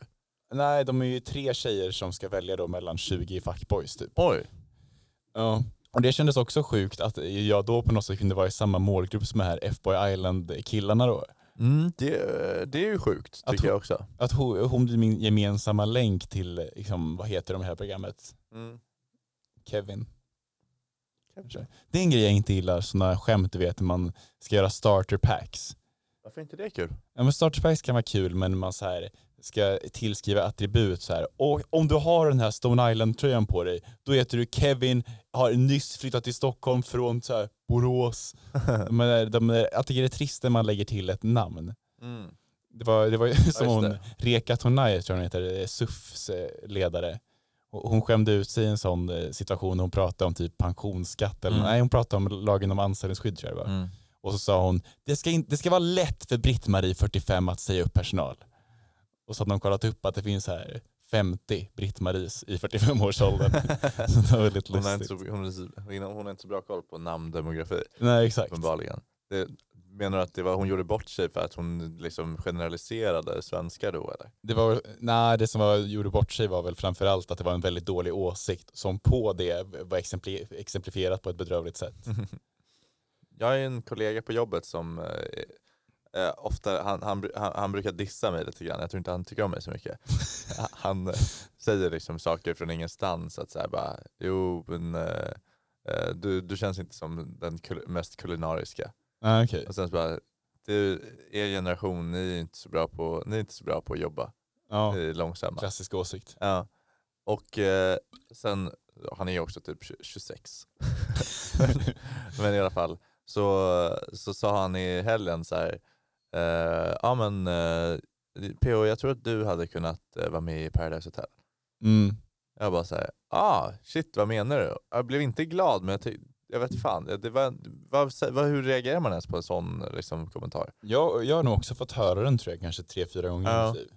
Nej, de är ju tre tjejer som ska välja då mellan 20 fuckboys typ. Oj. Ja. Och det kändes också sjukt att jag då på något sätt kunde vara i samma målgrupp som de här F-Boy Island-killarna då. Mm, det, det är ju sjukt Att tycker hon- jag också. Att hon, hon blir min gemensamma länk till, eh, liksom, vad heter de här programmet? Mm. Kevin. Kanske. Det är en grej jag inte gillar, sådana skämt du vet när man ska göra starter packs. Varför är inte det kul? Ja, men starter packs kan vara kul men man så här ska tillskriva attribut så här. Och om du har den här Stone Island-tröjan på dig, då heter du Kevin, har nyss flyttat till Stockholm från så här Borås. de där, de där, jag tycker det är trist när man lägger till ett namn. Mm. Det var, det var ju som just hon, det. Reka Tonaje tror jag hon heter, eh, SUFs eh, ledare. Och Hon skämde ut sig i en sån eh, situation hon pratade om typ pensionsskatt eller Mm. nej hon pratade om lagen om anställningsskydd tror jag det var. Mm. Och så sa hon, det ska, in, det ska vara lätt för Britt-Marie 45 att säga upp personal. Och så hade de kollat upp att det finns här 50 Britt-Maries i 45-årsåldern. så det var väldigt Hon, har inte lustigt. så, hon, är så- hon har inte så bra koll på namndemografi Nej exakt. uppenbarligen. Det, menar du att det var, hon gjorde bort sig för att hon liksom generaliserade svenskar då eller? Det, var, nej, det som var, gjorde bort sig var väl framförallt att det var en väldigt dålig åsikt som på det var exempli, exemplifierat på ett bedrövligt sätt. Mm. Jag har ju en kollega på jobbet som eh, eh, ofta, han, han, bru- han, han brukar dissa mig lite grann. Jag tror inte han tycker om mig så mycket. han eh, säger liksom saker från ingenstans. Att så här bara, jo men eh, eh, du, du känns inte som den kul- mest kulinariska. Ah, okej. Och sen så bara, du, er generation, ni är inte så bra på, ni är inte så bra på att jobba, Ja, ni är långsamma. klassisk åsikt. Ja. Och eh, sen, han är ju också typ 20 26. men i alla fall, så, så sa han i helgen så här, eh, ja men eh, PO jag tror att du hade kunnat eh, vara med i Paradise Hotel. Mm. Jag bara så här, ah shit vad menar du? Jag blev inte glad men jag, ty- jag vet fan, det var, vad, vad, hur reagerar man ens på en sån liksom, kommentar? Jag, jag har nog också fått höra den tror jag kanske tre, fyra gånger i Ja. mitt liv.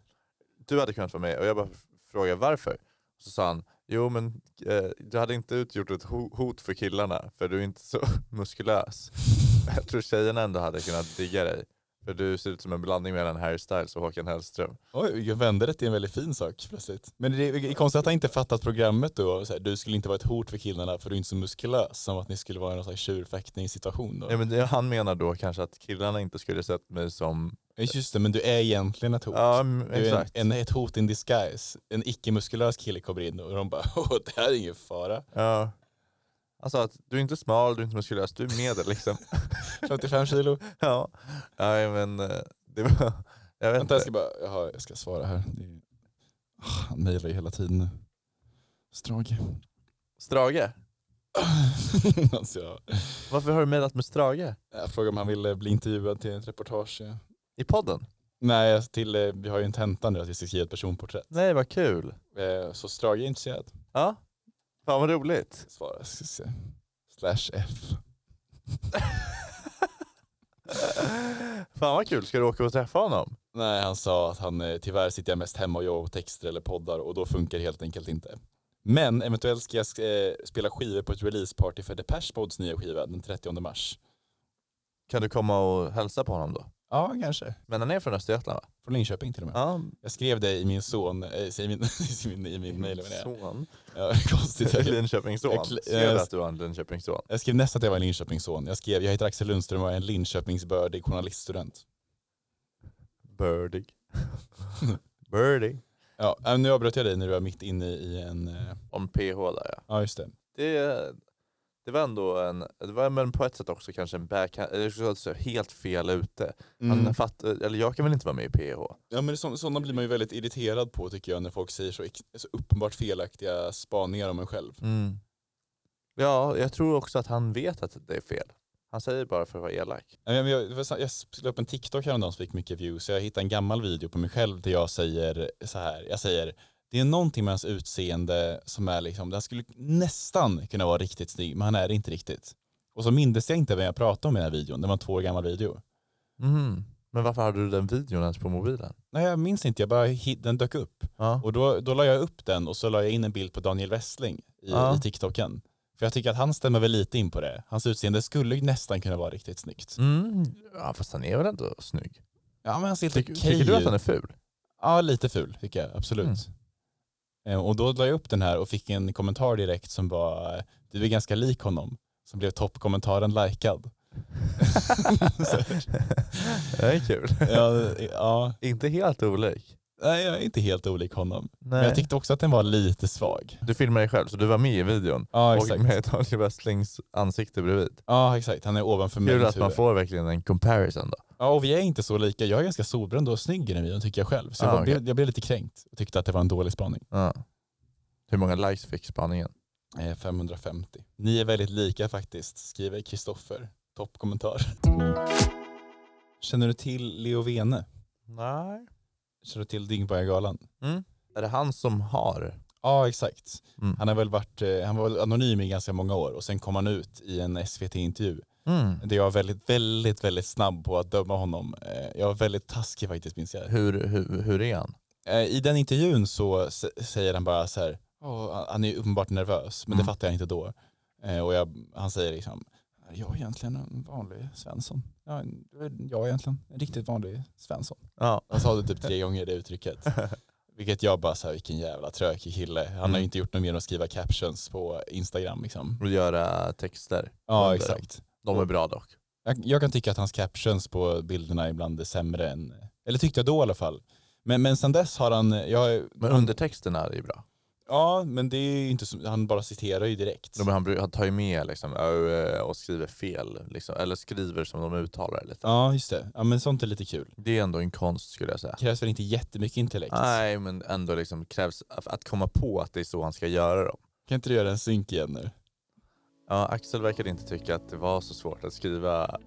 Du hade kunnat vara med och jag bara frågade varför. Så sa han, jo men eh, du hade inte utgjort ett ho- hot för killarna för du är inte så muskulös. Jag tror tjejerna ändå hade kunnat digga dig. För du ser ut som en blandning mellan Harry Styles och Håkan Hellström. Oj, jag vände det till en väldigt fin sak plötsligt. Men det är, det är konstigt att han inte fattat programmet då. Så här, du skulle inte vara ett hot för killarna för du är inte så muskulös. Som att ni skulle vara i någon slags tjurfäktningssituation då. Ja, men det, han menar då kanske att killarna inte skulle sett mig som... Just det, men du är egentligen ett hot. Ja, mm, Du är exakt. en, en, ett hot in disguise. En icke-muskulös kille kommer in och de bara åh, det här är ingen fara. Ja. Alltså att du är inte smal, du är inte muskulös, du är medel liksom. 55 kilo. ja. Nej men eh, det var... Jag vet Vänta, jag inte. ska bara, jaha, jag ska svara här. Det är, Ah, han mejlar ju hela tiden nu. Strage. Strage? alltså, jag, Varför har du mejlat med Strage? jag frågade om han ville bli intervjuad till ett reportage. I podden? Nej, alltså till, eh, vi har ju en tenta nu att vi ska skriva ett personporträtt. Nej vad kul. Eh, Så Strage är intresserad. Ja. Fan vad roligt. Svara, ska vi se. Slash F. Fan vad kul, ska du åka och träffa honom? Nej, han sa att han eh, tyvärr sitter jag mest hemma och jobbar på texter eller poddar och då funkar det helt enkelt inte. Men eventuellt ska jag eh, spela skivor på ett releaseparty för Depeche Modes nya skiva den 30 mars. Kan du komma och hälsa på honom då? Ja, kanske. Men han är från Östergötland va? Från Linköping till och med. Ja, Jag skrev det i min son, eh, i min, i min, i min mail. menar jag. son. Ja, konstigt. Jag, Linköpingsson. Jag kl- Ser du jag- att du har en Linköpingsson? jag skrev nästan att jag var en Linköpingsson. Jag skrev, jag heter Axel Lundström och är en Linköpingsbördig journaliststudent. Birdie. Birdie. Ja, äh, nu avbröt jag dig när du var mitt inne i en... eh, Om PH där ja. Ja, just det. det, det var ändå en, det var men på ett sätt också kanske en backhand, eller så- så helt fel ute. Han fatt, eller jag kan väl inte vara med i PH? Ja, men så, sådana blir man ju väldigt irriterad på tycker jag när folk säger så, ex- så uppenbart felaktiga spaningar om en själv. Mm. Ja, jag tror också att han vet att det är fel. Han säger bara för att vara elak. Ja, men Jag, det var så- jag la upp en TikTok häromdagen som fick mycket views. Jag hittade en gammal video på mig själv där jag säger så här. Jag säger, det är någonting med hans utseende som är liksom, han skulle nästan kunna vara riktigt snygg, men han är det inte riktigt. Och så mindes jag inte vem jag pratade om i den här videon. Det var en två år gammal video. Mm. Men varför hade du den videon ens på mobilen? Nej, jag minns inte. Jag bara, hit- den dök upp. Ja. Och då, då la jag upp den och så la jag in en bild på Daniel Westling i, Ja. i TikToken. För jag tycker att han stämmer väl lite in på det. Hans utseende skulle ju nästan kunna vara riktigt snyggt. Mm. ja, fast han är väl ändå snygg? Ja men han ser helt Tycker, okej tycker du att ut. han är ful? Ja lite ful tycker jag, absolut. Mm. Eh, Och då la jag upp den här och fick en kommentar direkt som var du är ganska lik honom. Som blev toppkommentaren likad. det är kul. ja, ja, Inte helt olik. nej jag är inte helt olik honom. Men Nej. jag tyckte också att den var lite svag. Du filmade dig själv, så du var med i videon. Ja och exakt. med Daniel Westlings ansikte bredvid. Ja exakt, han är ovanför mig. Kul att man får verkligen en comparison då. Ja, och vi är inte så lika. Jag är ganska solbränd och snygg i den videon tycker jag själv. Så jag, Ah, var, okej. blev, jag blev lite kränkt och tyckte att det var en dålig spaning. Ja. Hur många likes fick spaningen? Eh, 550. Ni är väldigt lika faktiskt, skriver Kristoffer. Toppkommentar. Känner du till Leo Vene? Nej. Känner du till Dyngbaggegalan? Är det han som har? Ja, exakt. Mm. Han, har väl varit, eh, han var väl anonym i ganska många år och sen kom han ut i en SVT-intervju Mm. där jag var väldigt, väldigt, väldigt snabb på att döma honom. Eh, Jag var väldigt taskig faktiskt, minns jag. Hur, hur, hur är han? Eh, I den intervjun så s- säger han bara så här, "Åh, han är ju uppenbart nervös, men det Mm. fattar jag inte då. Eh, Och jag, han säger liksom, jag är egentligen en vanlig Svensson. Jag är, jag är egentligen en riktigt vanlig Svensson. Ja. Han sa det typ tre gånger det uttrycket. Vilket jag bara så här, vilken jävla trökig kille. Han har Mm. ju inte gjort något mer än att skriva captions på Instagram liksom. Och göra texter. Ja, Under. exakt. De är bra dock. Jag, jag kan tycka att hans captions på bilderna ibland är sämre än, eller tyckte jag då i alla fall. Men, men sen dess har han, jag, Men undertexterna är ju bra. Ja, men det är ju inte som, han bara citerar ju direkt. De, han, bru- han tar ju med liksom, ö, och skriver fel. Liksom, eller skriver som de uttalar det lite. Ja, just det. Ja, men sånt är lite kul. Det är ändå en konst skulle jag säga. Krävs väl inte jättemycket intellekt? Nej, men ändå liksom krävs att att komma på att det är så han ska göra dem. Kan inte du göra en synk igen nu? Ja, Axel verkade inte tycka att det var så svårt att skriva,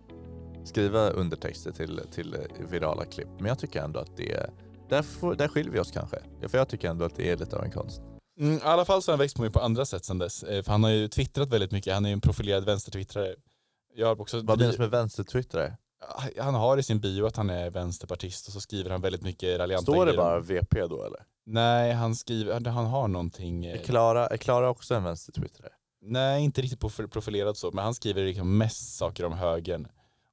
skriva undertexter till, till eh, virala klipp. Men jag tycker ändå att det är... Där, får, där skiljer vi oss kanske. Ja, För jag tycker ändå att det är lite av en konst. Mm, I alla fall så har han växt på mig på andra sätt sen dess. Eh, För han har ju twittrat väldigt mycket. Han är ju en profilerad vänstertwittrare. Jag har också Vad menas med vänstertwittrare? Han har i sin bio att han är vänsterpartist och så skriver han väldigt mycket raljanta Står det grejer om- bara VP då eller? Nej, han skriver, han har någonting. eh, Är Klara, är Klara också en vänstertwittrare? Nej, inte riktigt prof- profilerad så, men han skriver liksom mest saker om högern.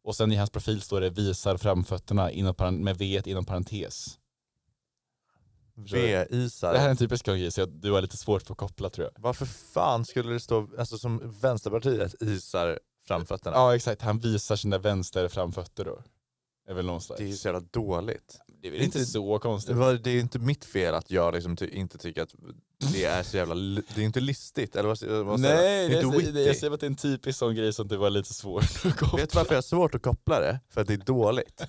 Och sen i hans profil står det visar framfötterna inom paran- med V inom parentes. Så- Det här är V-isar. en typisk kongis, jag- du har lite svårt för att koppla tror jag. Varför fan skulle det stå, alltså som Vänsterpartiet, isar framfötterna? Ja exakt, han visar sina vänster framfötter då. Är väl någon slags. Det är ju så jävla dåligt. det är väl inte inte- så Det, konstigt. var, det är inte mitt fel att jag liksom ty inte tycker att det är så jävla... li- Det är inte listigt, eller vad, s- vad säger Nej, jag? Det är inte jag, witty. jag, jag säger bara att det är en typisk sån grej som du var lite svårt att koppla. Vet du varför jag har svårt att koppla det? För att det är dåligt.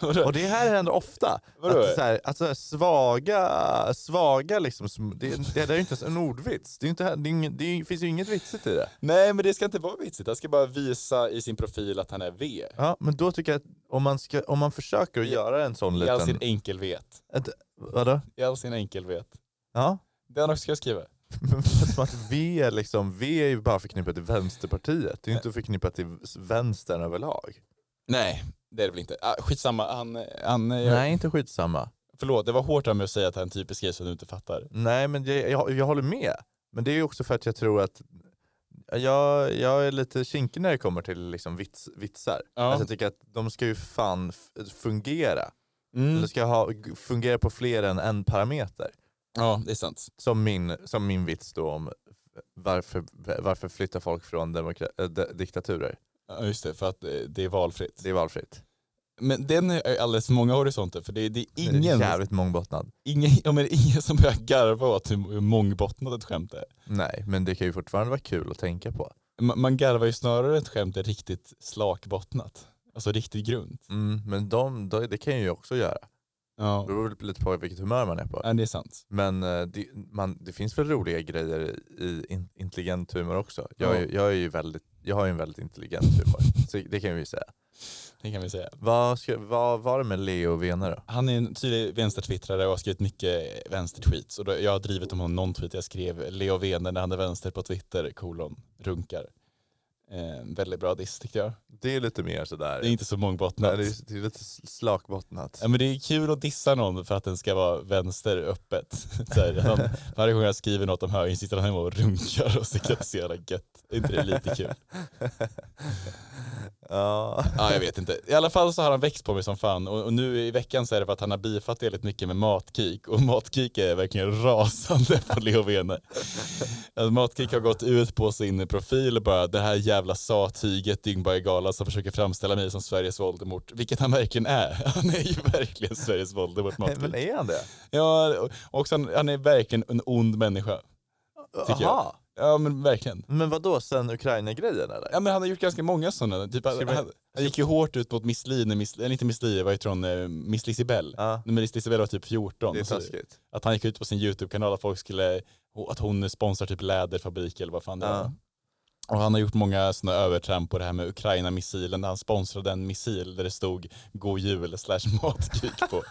Vadå? Och det här händer ofta. Vadå? Att, så här, att så här, svaga, svaga liksom, sm- det, det, det är ju inte ens en ordvits. Det, är ju inte, det, är ingen, det är- finns ju inget vitsigt i det. Nej, men det ska inte vara vitsigt. Han ska bara visa i sin profil att han är V. Ja, men då tycker jag att om man, ska, om man försöker att göra en sån I all liten... sin enkelhet. Ett, vadå? I all sin enkelhet. Ja. Det han också ska skriva. Men som att V, är liksom, V är ju bara förknippat till Vänsterpartiet. Det är ju inte förknippat till vänstern överlag. Nej, det är det väl inte. Ah, skitsamma, han... han eh, Nej, inte skitsamma. Förlåt, det var hårt av mig att säga att han är en typisk grej som du inte fattar. Nej, men jag, jag, jag håller med. Men det är ju också för att jag tror att jag, jag är lite kinkig när det kommer till liksom vits, vitsar. Ja. Alltså jag tycker att de ska ju fan f- fungera. De Mm. ska ha, g- fungera på fler än en parameter. Ja, det är sant. Som min, som min vits då om varför, varför flyttar folk från demokra- äh, de, diktaturer? Ja, just det, för att eh, det är valfritt. Det är valfritt. Men den är alldeles för många horisonter, för det, det är Den är ingen, Jävligt mångbottnad. ingen, ja, men det är ingen som börjar garva åt hur hur mångbottnat ett skämt är. Nej, men det kan ju fortfarande vara kul att tänka på. Man, man garvar ju snarare ett skämt är riktigt slakbottnat. Alltså riktigt grunt. Mm, men de, de, det kan ju jag också göra. Ja, Det beror väl lite på vilket humör man är på. ja det är sant. Men eh, det, man, det finns väl roliga grejer i in, intelligent humor också. Jag, är- jag, är ju väldigt, jag har ju en väldigt intelligent humor, så det kan vi ju säga. Det kan vi säga. Vad, ska, vad var det med Leo och Vene då? Han är en tydlig vänstertwittrare och har skrivit mycket vänstertweets. Och då, jag har drivit om honom någon tweet jag skrev, Leo Wehner när han är vänster på Twitter, kolon, runkar. Eh, väldigt bra diss tyckte jag. Det är lite mer sådär, Det är inte så Nej, mångbottnat. det är, det är lite sl- slakbottnat. Ja, men det är kul att dissa någon för att den ska vara vänster öppet. Så här, han, varje gång jag skriver något om högern sitter han hemma och runkar och tycker att det är så jävla gött. Är inte det lite kul? ja. Ja, jag vet inte. I alla fall så har han växt på mig som fan och, och nu i veckan så är det för att han har bifat väldigt mycket med Matkik och Matkik är verkligen rasande på Leo Vene. Alltså, Matkik har gått ut på sin profil och bara det här jävla satyget Dyngbar i gala som försöker framställa mig som Sveriges Voldemort, vilket han verkligen är. Han är ju verkligen Sveriges Voldemort, Nej, Matkik. Men är han det? Ja, och- och sen, han är verkligen en ond människa. Tycker jag. Jaha, Ja, men verkligen. men vad då sen Ukraina-grejen eller? Ja, men han har gjort ganska många sådana. Typ, han, Ska vi- han, han gick ju hårt ut mot Miss Li, när Miss, eller inte Miss Li, vad heter hon, eh, Miss Lisibell. Ja. När Miss Lisibell var typ 14. Det är så- taskigt. att han gick ut på sin YouTube-kanal att folk skulle, att hon sponsrar typ läderfabrik eller vad fan det Ja. var. Och han har gjort många sådana övertramp på det här med Ukraina-missilen där han sponsrade en missil där det stod “God jul” slash matkik på.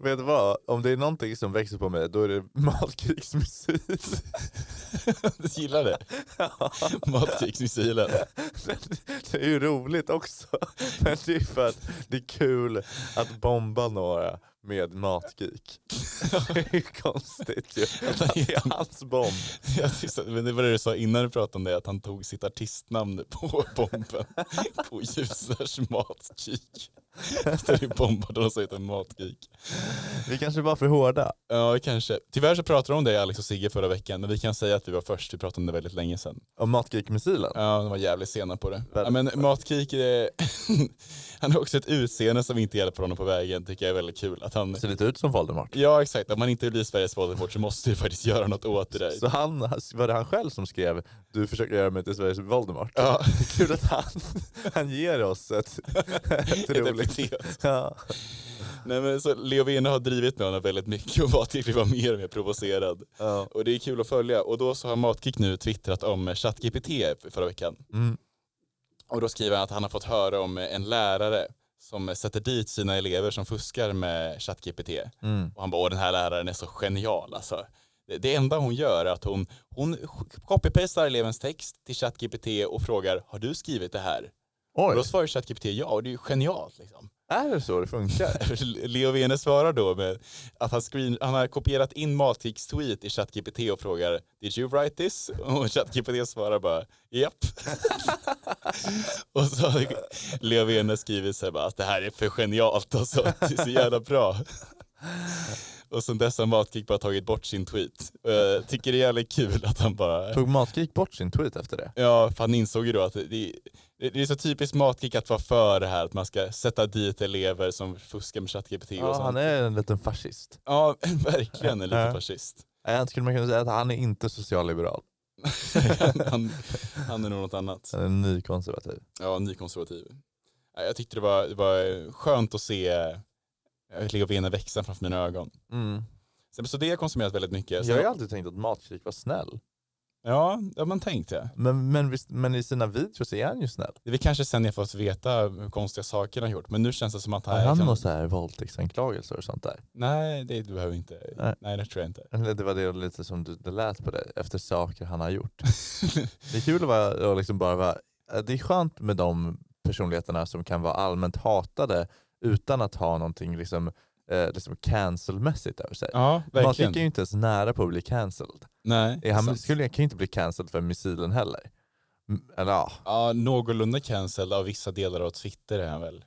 Vet du vad? Om det är någonting som växer på mig, då är det matkrigsmusik. du gillar det? Matkiksmissilen. Men det är ju roligt också. Men det är för att det är kul att bomba några med matgeek. Det är ju konstigt ju. Att det är hans bomb. Jag tyckte, men det var det du sa innan du pratade om det, att han tog sitt artistnamn på bomben. På ljusers matkik. Efter det bombade de så heter matkik. Vi kanske var för hårda. Ja, kanske. Tyvärr så pratade de om det, Alex och Sigge, förra veckan. Men vi kan säga att vi var först, vi pratade om det väldigt länge sedan. Om matgeek-missilen. Ja, de var jävligt sena på det. Ja, Väldigt men matkik, är- han har också ett utseende som inte hjälper honom på vägen, tycker jag är väldigt kul. Att han, Ser lite ut som Voldemort. ja, exakt. Om man inte blir Sveriges Voldemort så måste du faktiskt göra något åt det där. Så han, var det han själv som skrev du försöker göra mig till Sveriges Voldemort? Ja. Det är kul att han, han ger oss ett, ett Ett roligt... epitet. Ja. Nej men så Leo Vene har drivit med honom väldigt mycket och Matkick var mer och mer provocerad. Ja. Och det är kul att följa. Och då så har Matkick nu twittrat om ChatGPT förra veckan. Mm. Och då skriver han att han har fått höra om en lärare som sätter dit sina elever som fuskar med ChatGPT. Och han bara, Åh, den här läraren är så genial alltså. Det, det enda hon gör är att hon, hon copy-pastar elevens text till ChatGPT och frågar, har du skrivit det här? Och Oj, då svarar ChatGPT ja, och det är ju genialt liksom. är det så det funkar? Leo Vene svarar då med att han, screen, han har kopierat in Matrix tweet i ChatGPT och frågar Did you write this? Och ChatGPT svarar bara Japp. och så har Leo Vene skrivit så här bara att det här är för genialt och så, det är så jävla bra. och sen dess har Matrix bara tagit bort sin tweet. Och jag tycker det är jävligt kul att han bara Tog Matgeek bort sin tweet efter det? Ja, för han insåg ju då att det, det, det är så typiskt Matgeek att vara för det här, att man ska sätta dit elever som fuskar med ChatGPT och Ja, sånt. han är en liten fascist. Ja, verkligen en liten Ja. fascist. Jag skulle man kunna säga att han är inte socialliberal. han, han, han är nog något annat. Han är nykonservativ. Ja, nykonservativ. Ja, Jag tyckte det var, det var skönt att se eh, Leo Vene växa framför mina ögon. Mm. Sen- Så det har jag konsumerat väldigt mycket. Så, Jag har ju alltid tänkt att Matgeek var snäll. ja, ja, man tänkte. Men, men, visst, men i sina videos är han ju snäll. Det är väl kanske sen jag fått veta hur konstiga saker han gjort, men nu känns det som att han... Har han kan- några så här våldtäktsanklagelser och sånt där? Nej, det du behöver inte. Nej. Nej. det tror jag inte. Eller det var det lite som du, det lät på dig, efter saker han har gjort. Det är kul att vara, att liksom bara vara, det är skönt med de personligheterna som kan vara allmänt hatade utan att ha någonting liksom, eh, liksom cancelmässigt över sig. ja, Matgeek är ju verkligen. inte ens nära på att bli cancelled. Nej, Eh, Han sant. skulle, kan ju inte bli cancelled för missilen heller. Mm, Eller ja, Ja, någorlunda cancelled av vissa delar av Twitter är han väl.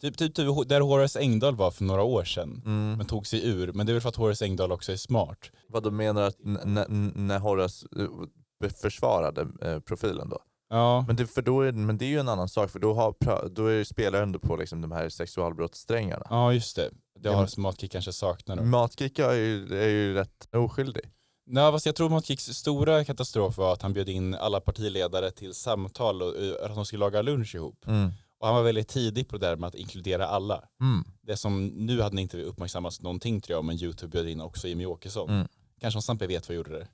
Typ, typ, typ där Horace Engdahl var för några år sedan, mm. men tog sig ur. Men det är väl för att Horace Engdahl också är smart. vad du menar att n- n- n- när Horace eh, be- försvarade eh, profilen då? Ja, Men det, för då är, men det är ju en annan sak, för då, har, pra- då är, spelar det ändå på liksom de här sexualbrottssträngarna. ja just det. Det Ja, har men- Smartkick kanske saknar. Mm. Matgeek är ju, är ju rätt oskyldig. Nej, fast jag tror Smartkicks stora katastrof var att han bjöd in alla partiledare till samtal och, och att de skulle laga lunch ihop. Mm. Och han var väldigt tidig på det där med att inkludera alla. Mm. det som nu hade inte uppmärksammats någonting tror jag, men YouTube bjöd in också Jimmy Åkesson. Mm. Kanske om Sampe vet vad gjorde det.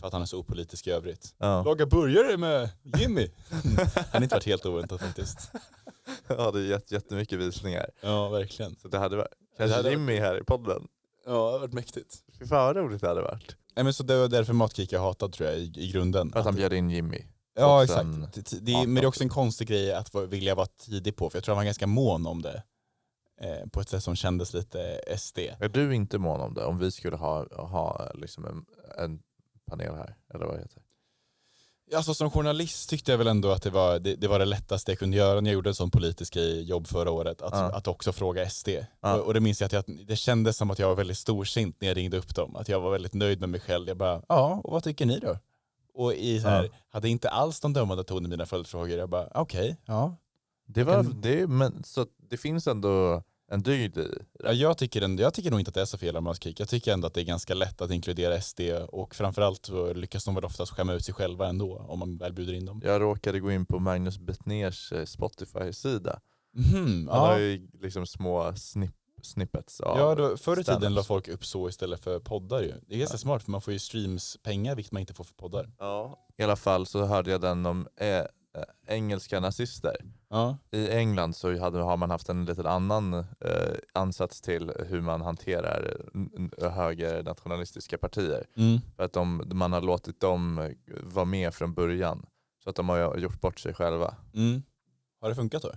För att han är så opolitisk i övrigt. Ja. Laga burgare med Jimmy! Han hade inte varit helt oväntat faktiskt. ja, det är jätte- jättemycket visningar. Ja, verkligen. Så det hade varit, kanske hade varit- Jimmy här i podden. Ja, det har varit mäktigt. Fy fan vad roligt det hade varit. Nej, men så det var därför Matgeek är hatad tror jag i, i grunden. Att han bjöd in Jimmy. ja, och sen- exakt. Det, det, är- men det är också en konstig grej att vara- vilja vara tidig på, för jag tror han var ganska mån om det. Eh, på ett sätt som kändes lite SD. Är du inte mån om det? Om vi skulle ha, ha liksom en, en panel här? Eller vad det heter Alltså som journalist tyckte jag väl ändå att det var det, det, var det lättaste jag kunde göra när jag gjorde en sån politisk grej, jobb förra året, att, Ja. att också fråga SD. Ja. Och, och det minns jag att jag, det kändes som att jag var väldigt storsint när jag ringde upp dem, att jag var väldigt nöjd med mig själv. Jag bara, ja, och vad tycker ni då? Och i så här, Ja. hade inte alls någon dömande ton i mina följdfrågor. Jag bara, okej, ja. Det, var, kan- det, men, så att det finns ändå en dygd i. ja jag, tycker ändå, jag tycker nog inte att det är så fel om man skriker. Jag tycker ändå att det är ganska lätt att inkludera SD och framförallt så lyckas de väl oftast skämma ut sig själva ändå om man väl bjuder in dem. Jag råkade gå in på Magnus Betnérs eh, Spotify-sida. Mhm, Han ja. har ju liksom små snip, snippets av... Ja, då, förr i tiden stand-ups. la folk upp så istället för poddar ju. Det är ganska smart för man får ju streamspengar vilket man inte får för poddar. Ja. I alla fall så hörde jag den om eh, eh, engelska nazister. Ja, I England så hade, har man haft en liten annan eh, ansats till hur man hanterar n- n- högernationalistiska partier. mm. För att de, man har låtit dem eh, vara med från början. Så att de har gjort bort sig själva. Mm. Har det funkat då?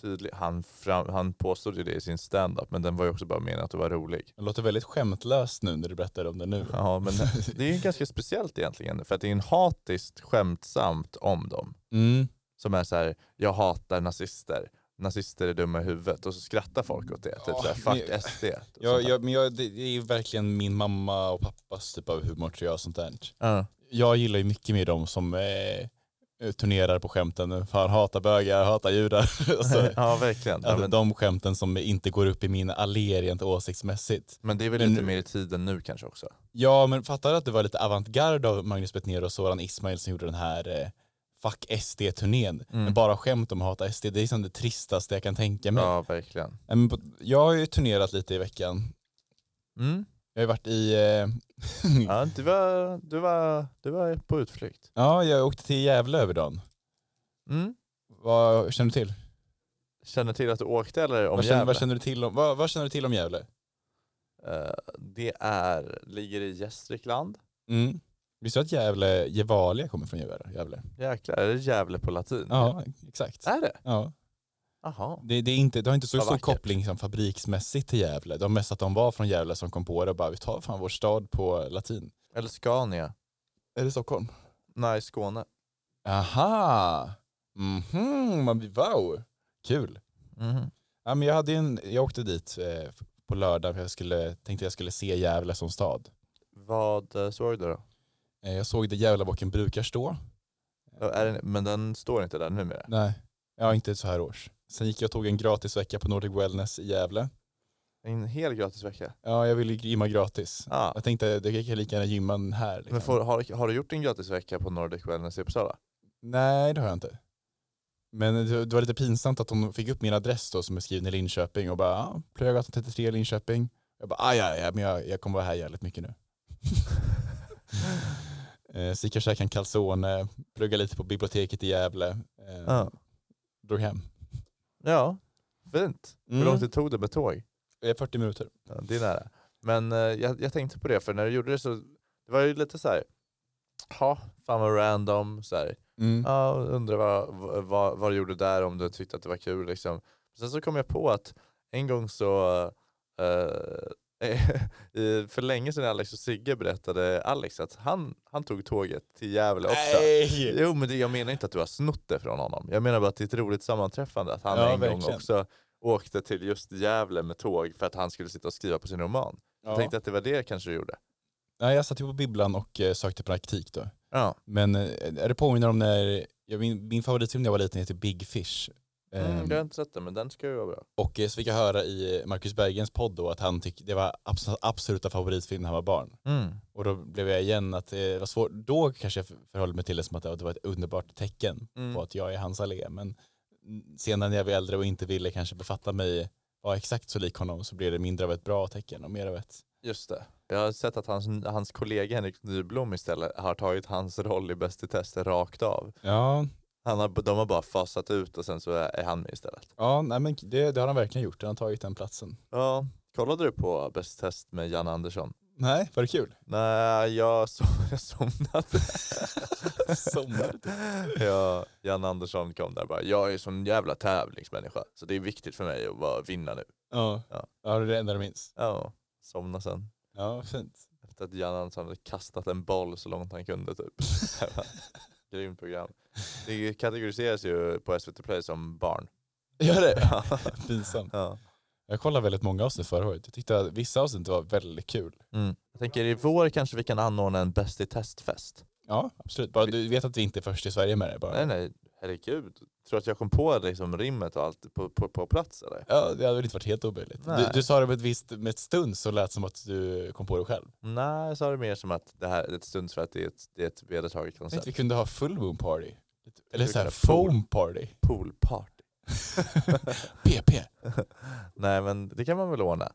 Tydlig, han, fram, han påstod ju det i sin stand-up men den var ju också bara menad att vara rolig. Det låter väldigt skämtlöst nu när du berättar om det nu. Ja, men det är ju ganska speciellt egentligen. För att det är en hatiskt skämtsamt om dem. Mm. Som är så här, jag hatar nazister. Nazister är dumma i huvudet. Och så skrattar folk åt det. Typ Ja, så här, fuck men- SD. och Jag, sånt där. jag, men jag, det det är ju verkligen min mamma och pappas typ av humor tror jag. och Sånt där. Ja. Jag gillar ju mycket mer de som eh, turnerar på skämten. Fan, hatar bögar, hatar judar. alltså, ja, verkligen. Ja, att men, De skämten som inte går upp i mina alléer rent åsiktsmässigt. men det är väl men lite nu- mer i tiden nu kanske också. Ja, men fattar du att det var lite avantgarde av Magnus Betnér och Soran Ismail som gjorde den här eh, Fuck SD-turnén. Mm. Men bara skämt om att hata SD, det är som det tristaste jag kan tänka mig. Ja, verkligen. Nej, Men på, jag har ju turnerat lite i veckan. Mm. Jag har ju varit i... Eh, Ja, du, var, du, var, du var på utflykt. ja, jag åkte till Gävle över dagen. Mm. Vad känner du till? känner till att du åkte eller om Vad känner, Gävle? vad, känner du till om, vad, vad känner du till om Gävle? Eh, det är, ligger i Gästrikland. Mm. Visste du att Gävle, Gevalia kommer från Gävle? Gävle. Jäklar, är det Gävle på latin? Ja, Äh? exakt. Är det? Ja. Jaha. Det, det, är inte, det har inte så Vad stor vackert. koppling som fabriksmässigt till Gävle. De mest att de var från Gävle som kom på det och bara vi tar fan vår stad på latin. Eller Scania? Är det Stockholm? Nej, Skåne. Aha! Mhm, man blir wow! Kul. Mhm. Ja, men jag, hade ju en, jag åkte dit eh, på lördag för jag skulle, tänkte jag skulle se Gävle som stad. Vad eh, såg du då? Eh, jag såg där Gävlebocken brukar stå. Ja, Är det, men den står inte där numera. Nej, ja, inte så här års. Sen gick jag och tog en gratisvecka på Nordic Wellness i Gävle. En hel gratisvecka. Ja, jag ville gymma gratis. Ja. Jag tänkte det kan jag lika gärna gymma den här. Liksom. Men får, har, har du gjort din gratisvecka på Nordic Wellness i Uppsala? Nej, det har jag inte. Men det det var lite pinsamt att hon fick upp min adress då som är skriven i Linköping och bara ja, Plöjagatan 33 Linköping. Jag bara aj, aj, aj men jag, jag kommer vara här jävligt mycket nu. eh, så gick jag och käkade en calzone, pluggade lite på biblioteket i Gävle, eh, Ja. drog hem. Ja, fint. Mm. Hur långt det tog det med tåg? Eh, 40 minuter. Ja, det är nära. Men eh, jag, jag tänkte på det, för när du gjorde det så det var ju lite så här, ja, fan vad random, så här, Mm. ja, undrar vad, vad- vad, vad du gjorde där, om du tyckte att det var kul liksom. Sen så kom jag på att en gång så, eh, i- för länge sedan Alex och Sigge berättade Alex att han, han tog tåget till Gävle också. Nej! Jo men det, jag menar inte att du har snott det från honom. Jag menar bara att det är ett roligt sammanträffande att han Ja, en gång verkligen. också åkte till just Gävle med tåg för att han skulle sitta och skriva på sin roman. Jag Ja. tänkte att det var det kanske du gjorde. Nej, jag satt ju på bibblan och eh, sökte praktik då. Ja. Men eh, är det påminner om när, jag, min, min favoritfilm när jag var liten heter Big Fish. Mm, Ehm, jag har inte sett den men den ska ju vara bra. Och eh, så fick jag höra i Marcus Bergens podd då att han tyckte det var abs- absoluta favoritfilm när han var barn. Och då blev jag igen att det var svårt. Då kanske jag förhöll mig till det som att det var ett underbart tecken Mm. på att jag är hans allé. Men senare när jag var äldre och inte ville kanske befatta mig vara exakt så lik honom så blev det mindre av ett bra tecken och mer av ett. Just det. Jag har sett att hans, hans kollega Henrik Nyblom istället har tagit hans roll i Bäst i test rakt av. Ja, Han har, de har bara fasat ut och sen så är är han med istället. ja nej men det, det har han verkligen gjort. Han har tagit den platsen. Ja, kollade du på Bäst i test med Jan Andersson? Nej, var det kul? Nej, jag, so- jag somnade. Somnade ja, Jan Andersson kom där och bara, jag är sån jävla tävlingsmänniska så det är viktigt för mig att bara vinna nu. Ja, Ja. ja. ja det är det enda du minns. Ja, somna sen. Ja, fint. Efter att Jan Andersson hade kastat en boll så långt han kunde typ. Grymt program. Det kategoriseras ju på SVT Play som barn. Gör det? Pinsamt. Ja. Jag kollade väldigt många avsnitt förra året. Jag tyckte att vissa avsnitt var väldigt kul. Mm. Jag tänker i vår kanske vi kan anordna en Bäst i testfest. Ja, absolut. Bara, du vet att vi inte är först i Sverige med det bara. Nej nej, herregud. Tror du att jag kom på liksom rimmet och allt på, på, på plats eller? Ja, det hade väl inte varit helt omöjligt. Du, Nej. du sa det med ett visst, med ett stund så lät det som att du kom på det själv. Nej, jag sa det mer som att det här är ett stund för att det är ett, det är ett vedertaget Jag tänkte koncept. vi kunde ha full moon party. Eller vi så här kunde ha pool. foam party. Poolparty. PP. Nej, men det kan man väl ordna.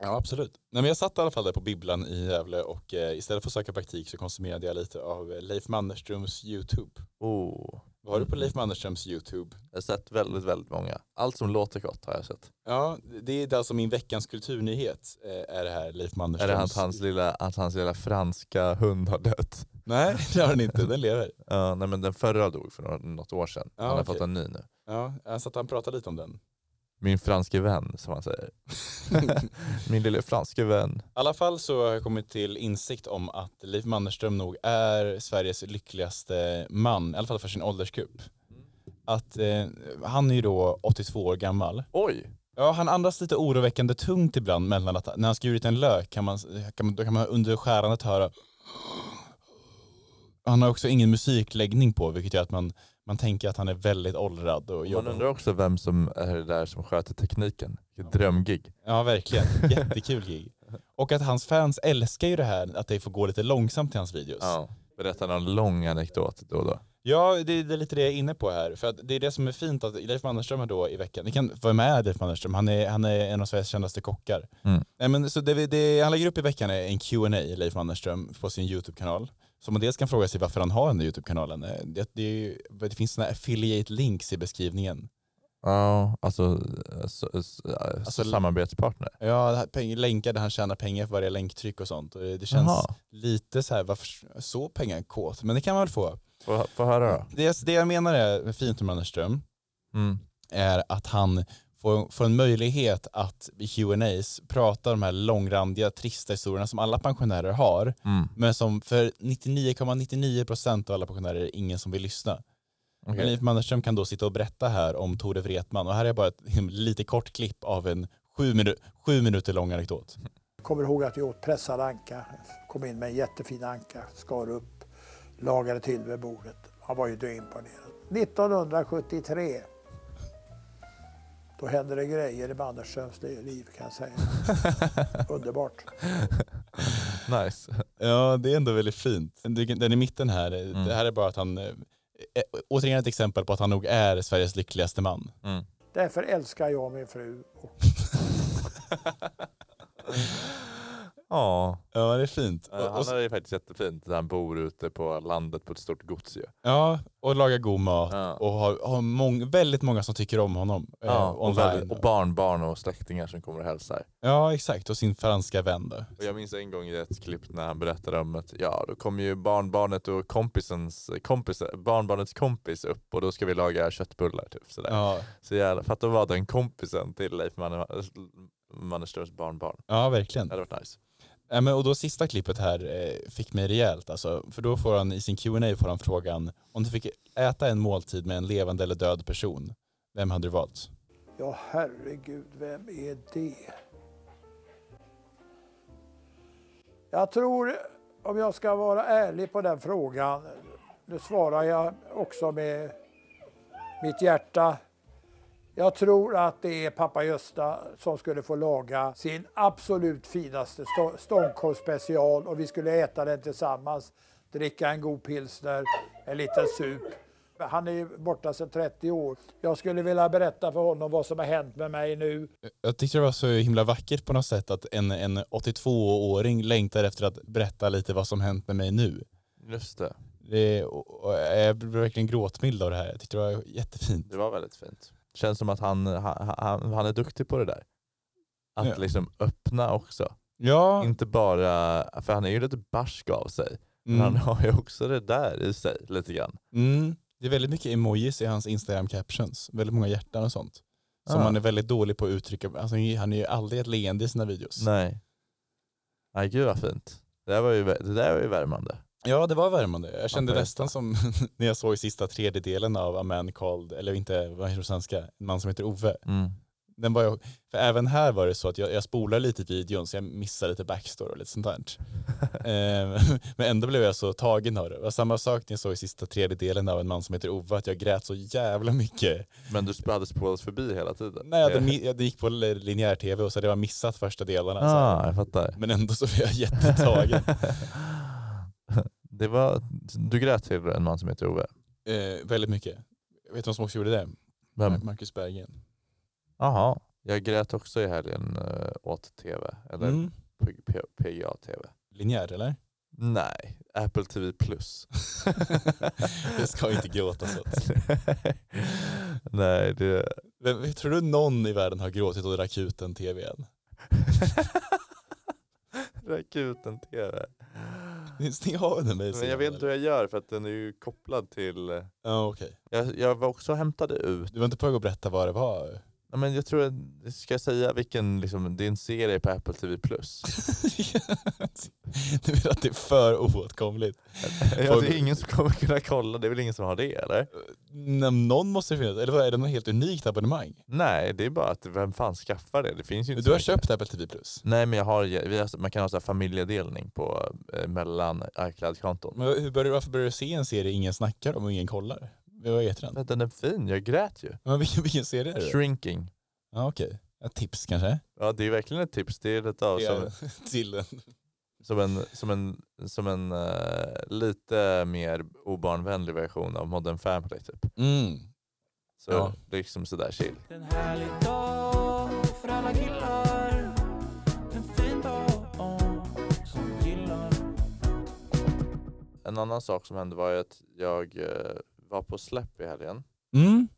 Ja, absolut. Nej, men jag satt i alla fall där på bibblan i Gävle och eh, istället för att söka praktik så konsumerade jag lite av eh, Leif Mannerströms YouTube. Oh. Var du på Mm. Leif Mannerströms YouTube? Jag har sett väldigt, väldigt många. Allt som låter gott har jag sett. Ja, det är alltså min veckans kulturnyhet eh, är det här Leif Är Mannerströms. det att hans lilla, att hans lilla franska hund har dött? Nej, det har den inte. Den lever. Ja, nej, men den förra dog för några- något år sedan. Ja, han har okej. fått en ny nu. Ja, så att han pratade lite om den. Min franske vän, som han säger. Min lille franske vän. I alla fall så har jag kommit till insikt om att Leif Mannerström nog är Sveriges lyckligaste man, i alla fall för sin åldersgrupp. Att eh, han är ju då 82 år gammal. Oj! Ja, han andas lite oroväckande tungt ibland mellan att när han skurit en lök kan man, kan man, då kan man under skärandet höra han har också ingen musikläggning på vilket gör att man, man tänker att han är väldigt åldrad. Och Man jobbar- undrar också vem som är det där som sköter tekniken. Vilket drömgig. Ja, verkligen. Jättekul gig. Och att hans fans älskar ju det här att det får gå lite långsamt i hans videos. Ja. Berättar någon lång anekdot då och då. Ja, det, det är lite det jag är inne på här. För att det är det som är fint att Leif Mannerström är då i veckan. Ni kan vara med Leif Mannerström, han är, han är en av Sveriges kändaste kockar. Mm. Nej, men, så det, vi- det han lägger upp i veckan är en Q&A Leif Mannerström på sin YouTube-kanal. Så man dels kan fråga sig varför han har den där YouTube-kanalen. Eh, Det, det, är ju- det finns sådana affiliate links i beskrivningen. Ja, alltså, s- s- Alltså, samarbetspartner. Ja, det här peng- länkar där han tjänar pengar för varje länktryck och sånt. Och det det känns Jaha. lite så här, varför så pengar kåt? Men det kan man väl få. Få, få höra då. Det, det jag menar är fint med Anderström Mm. är att han får, får en möjlighet att i Q&As prata de här långrandiga, trista historierna som alla pensionärer har. Mm. Men som för 99,99% av alla pensionärer är det ingen som vill lyssna. Okej. Men Leif Mannerström kan då sitta och berätta här om Tore Wretman och här är bara ett lite kort klipp av en sju, minu- sju minuter lång anekdot. Kommer ihåg att vi åt pressad anka. Kom in med en jättefin anka, skar upp, lagade till vid bordet. Han var ju döimponerad. 1973. Då hände det grejer i Mannerströms liv kan jag säga. Underbart. Nice. Ja, det är ändå väldigt fint. Den den i mitten här, det här är bara att han, eh, eh, återigen ett exempel på att han nog är Sveriges lyckligaste man. Därför älskar jag min fru. Och Ja, Ja, det är fint. Eh, han Och, och, har ju faktiskt jättefint. där Han bor ute på landet på ett stort gods ju. ja, och lagar god mat Ja. och har, har mång, väldigt många som tycker om honom. eh, Ja, och, online. väl, och barnbarn och släktingar som kommer och hälsar. Ja, exakt. Och sin franska vän då. Och jag minns en gång i ett klipp när han berättade om att ja, då kom ju barnbarnet och kompisens, kompis, barnbarnets kompis upp och då ska vi laga köttbullar typ sådär. Ja, Så jävla, fatta att vara den kompisen till Leif Manner- Mannerströms barnbarn. ja Det verkligen. hade varit nice. Ja, men, och då sista klippet här eh, fick mig rejält alltså, för då får han i sin Q&A får han frågan om du fick äta en måltid med en levande eller död person, vem hade du valt? ja, herregud, vem är det? Jag tror, om jag ska vara ärlig på den frågan, nu svarar jag också med mitt hjärta. Jag tror att det är pappa Gösta som skulle få laga sin absolut finaste stå- ståndkorvsspecial och vi skulle äta den tillsammans, dricka en god pilsner, en liten sup. Han är ju borta sedan 30 år. Jag skulle vilja berätta för honom vad som har hänt med mig nu. Jag tyckte det var så himla vackert på något sätt att en, en 82-åring längtar efter att berätta lite vad som hänt med mig nu. Just det, Det, och, och jag blev verkligen gråtmild av det här. Jag tyckte det var jättefint. det var väldigt fint. Känns som att han, han, han, han är duktig på det där. Att Ja. liksom öppna också. Ja, Inte bara, för han är ju lite barsk av sig. Men mm, han har ju också det där i sig lite grann. mm. det är väldigt mycket emojis i hans Instagram captions. Väldigt många hjärtan och sånt. Som Ah. han är väldigt dålig på att uttrycka. Alltså, han är ju aldrig ett leende i sina videos. Nej. Nej gud vad fint. Det där var ju, vä- det där var ju värmande. Ja, det var värmande. Jag kände berätta. nästan som när jag såg sista tredjedelen av A Man Called, eller inte, vad heter det på svenska, En man som heter Ove. Mm. Den var jag, för även här var det så att jag, jag spolade lite i videon så jag missade lite backstory och lite sånt där. Ehm, Men ändå blev jag så tagen av det. Det var samma sak när jag såg sista tredjedelen av En man som heter Ove, att jag grät så jävla mycket. Men du sp- hade spårat förbi hela tiden? Nej, jag, hade, mi- jag gick på linjär tv och så hade jag missat första delarna. så här. ah, jag fattar. Men ändå så blev jag jättetagen. det var, du grät till en man som heter Ove? Ehm, väldigt mycket. Vet du vad som också gjorde det? Vem? Marcus Berggren. Jaha. Jag grät också i helgen eh, åt tv, eller Mm. P- P- PGA-tv. Linjär eller? Nej, Apple TV+. Plus. Jag ska inte gråta så. Nej, det... Vem, tror du någon i världen har gråtit åt Rakuten TV än? Rakuten-tv. Ni stäng av den mig Men jag vet inte hur jag gör för att den är ju kopplad till... Ja okej. Jag, jag var också och hämtade ut... Du var inte på väg att berätta vad det var? Ja, men jag tror att, ska jag säga vilken, liksom, det är en serie på Apple TV+. Plus. du menar att det är för oåtkomligt? Ja, det är ingen som kommer kunna kolla, det är väl ingen som har det eller? Nej, men någon måste ju finnas, eller vad är det något helt unikt abonnemang? Nej, det är bara att vem fan skaffar det? Det finns ju inte Du så har mycket. köpt Apple TV Plus. Nej men jag har, vi har, man kan ha så här familjedelning på, eh, mellan iCloud-konton. Men hur började, varför började du se en serie ingen snackar om och ingen kollar? Vad heter den? Men Den är fin, jag grät ju. Men vilken, vilken serie är det? Shrinking. Ja okej. Ett tips kanske? Ja det är verkligen ett tips, det är lite av som, Till en som en, som en, som en eh, lite mer obarnvänlig version av Modern Family typ. Mm. Så Ja. liksom sådär chill. Det är en härlig dag för alla killar En fin dag som gillar En annan sak som hände var ju att jag eh, var på släpp i helgen. Mm.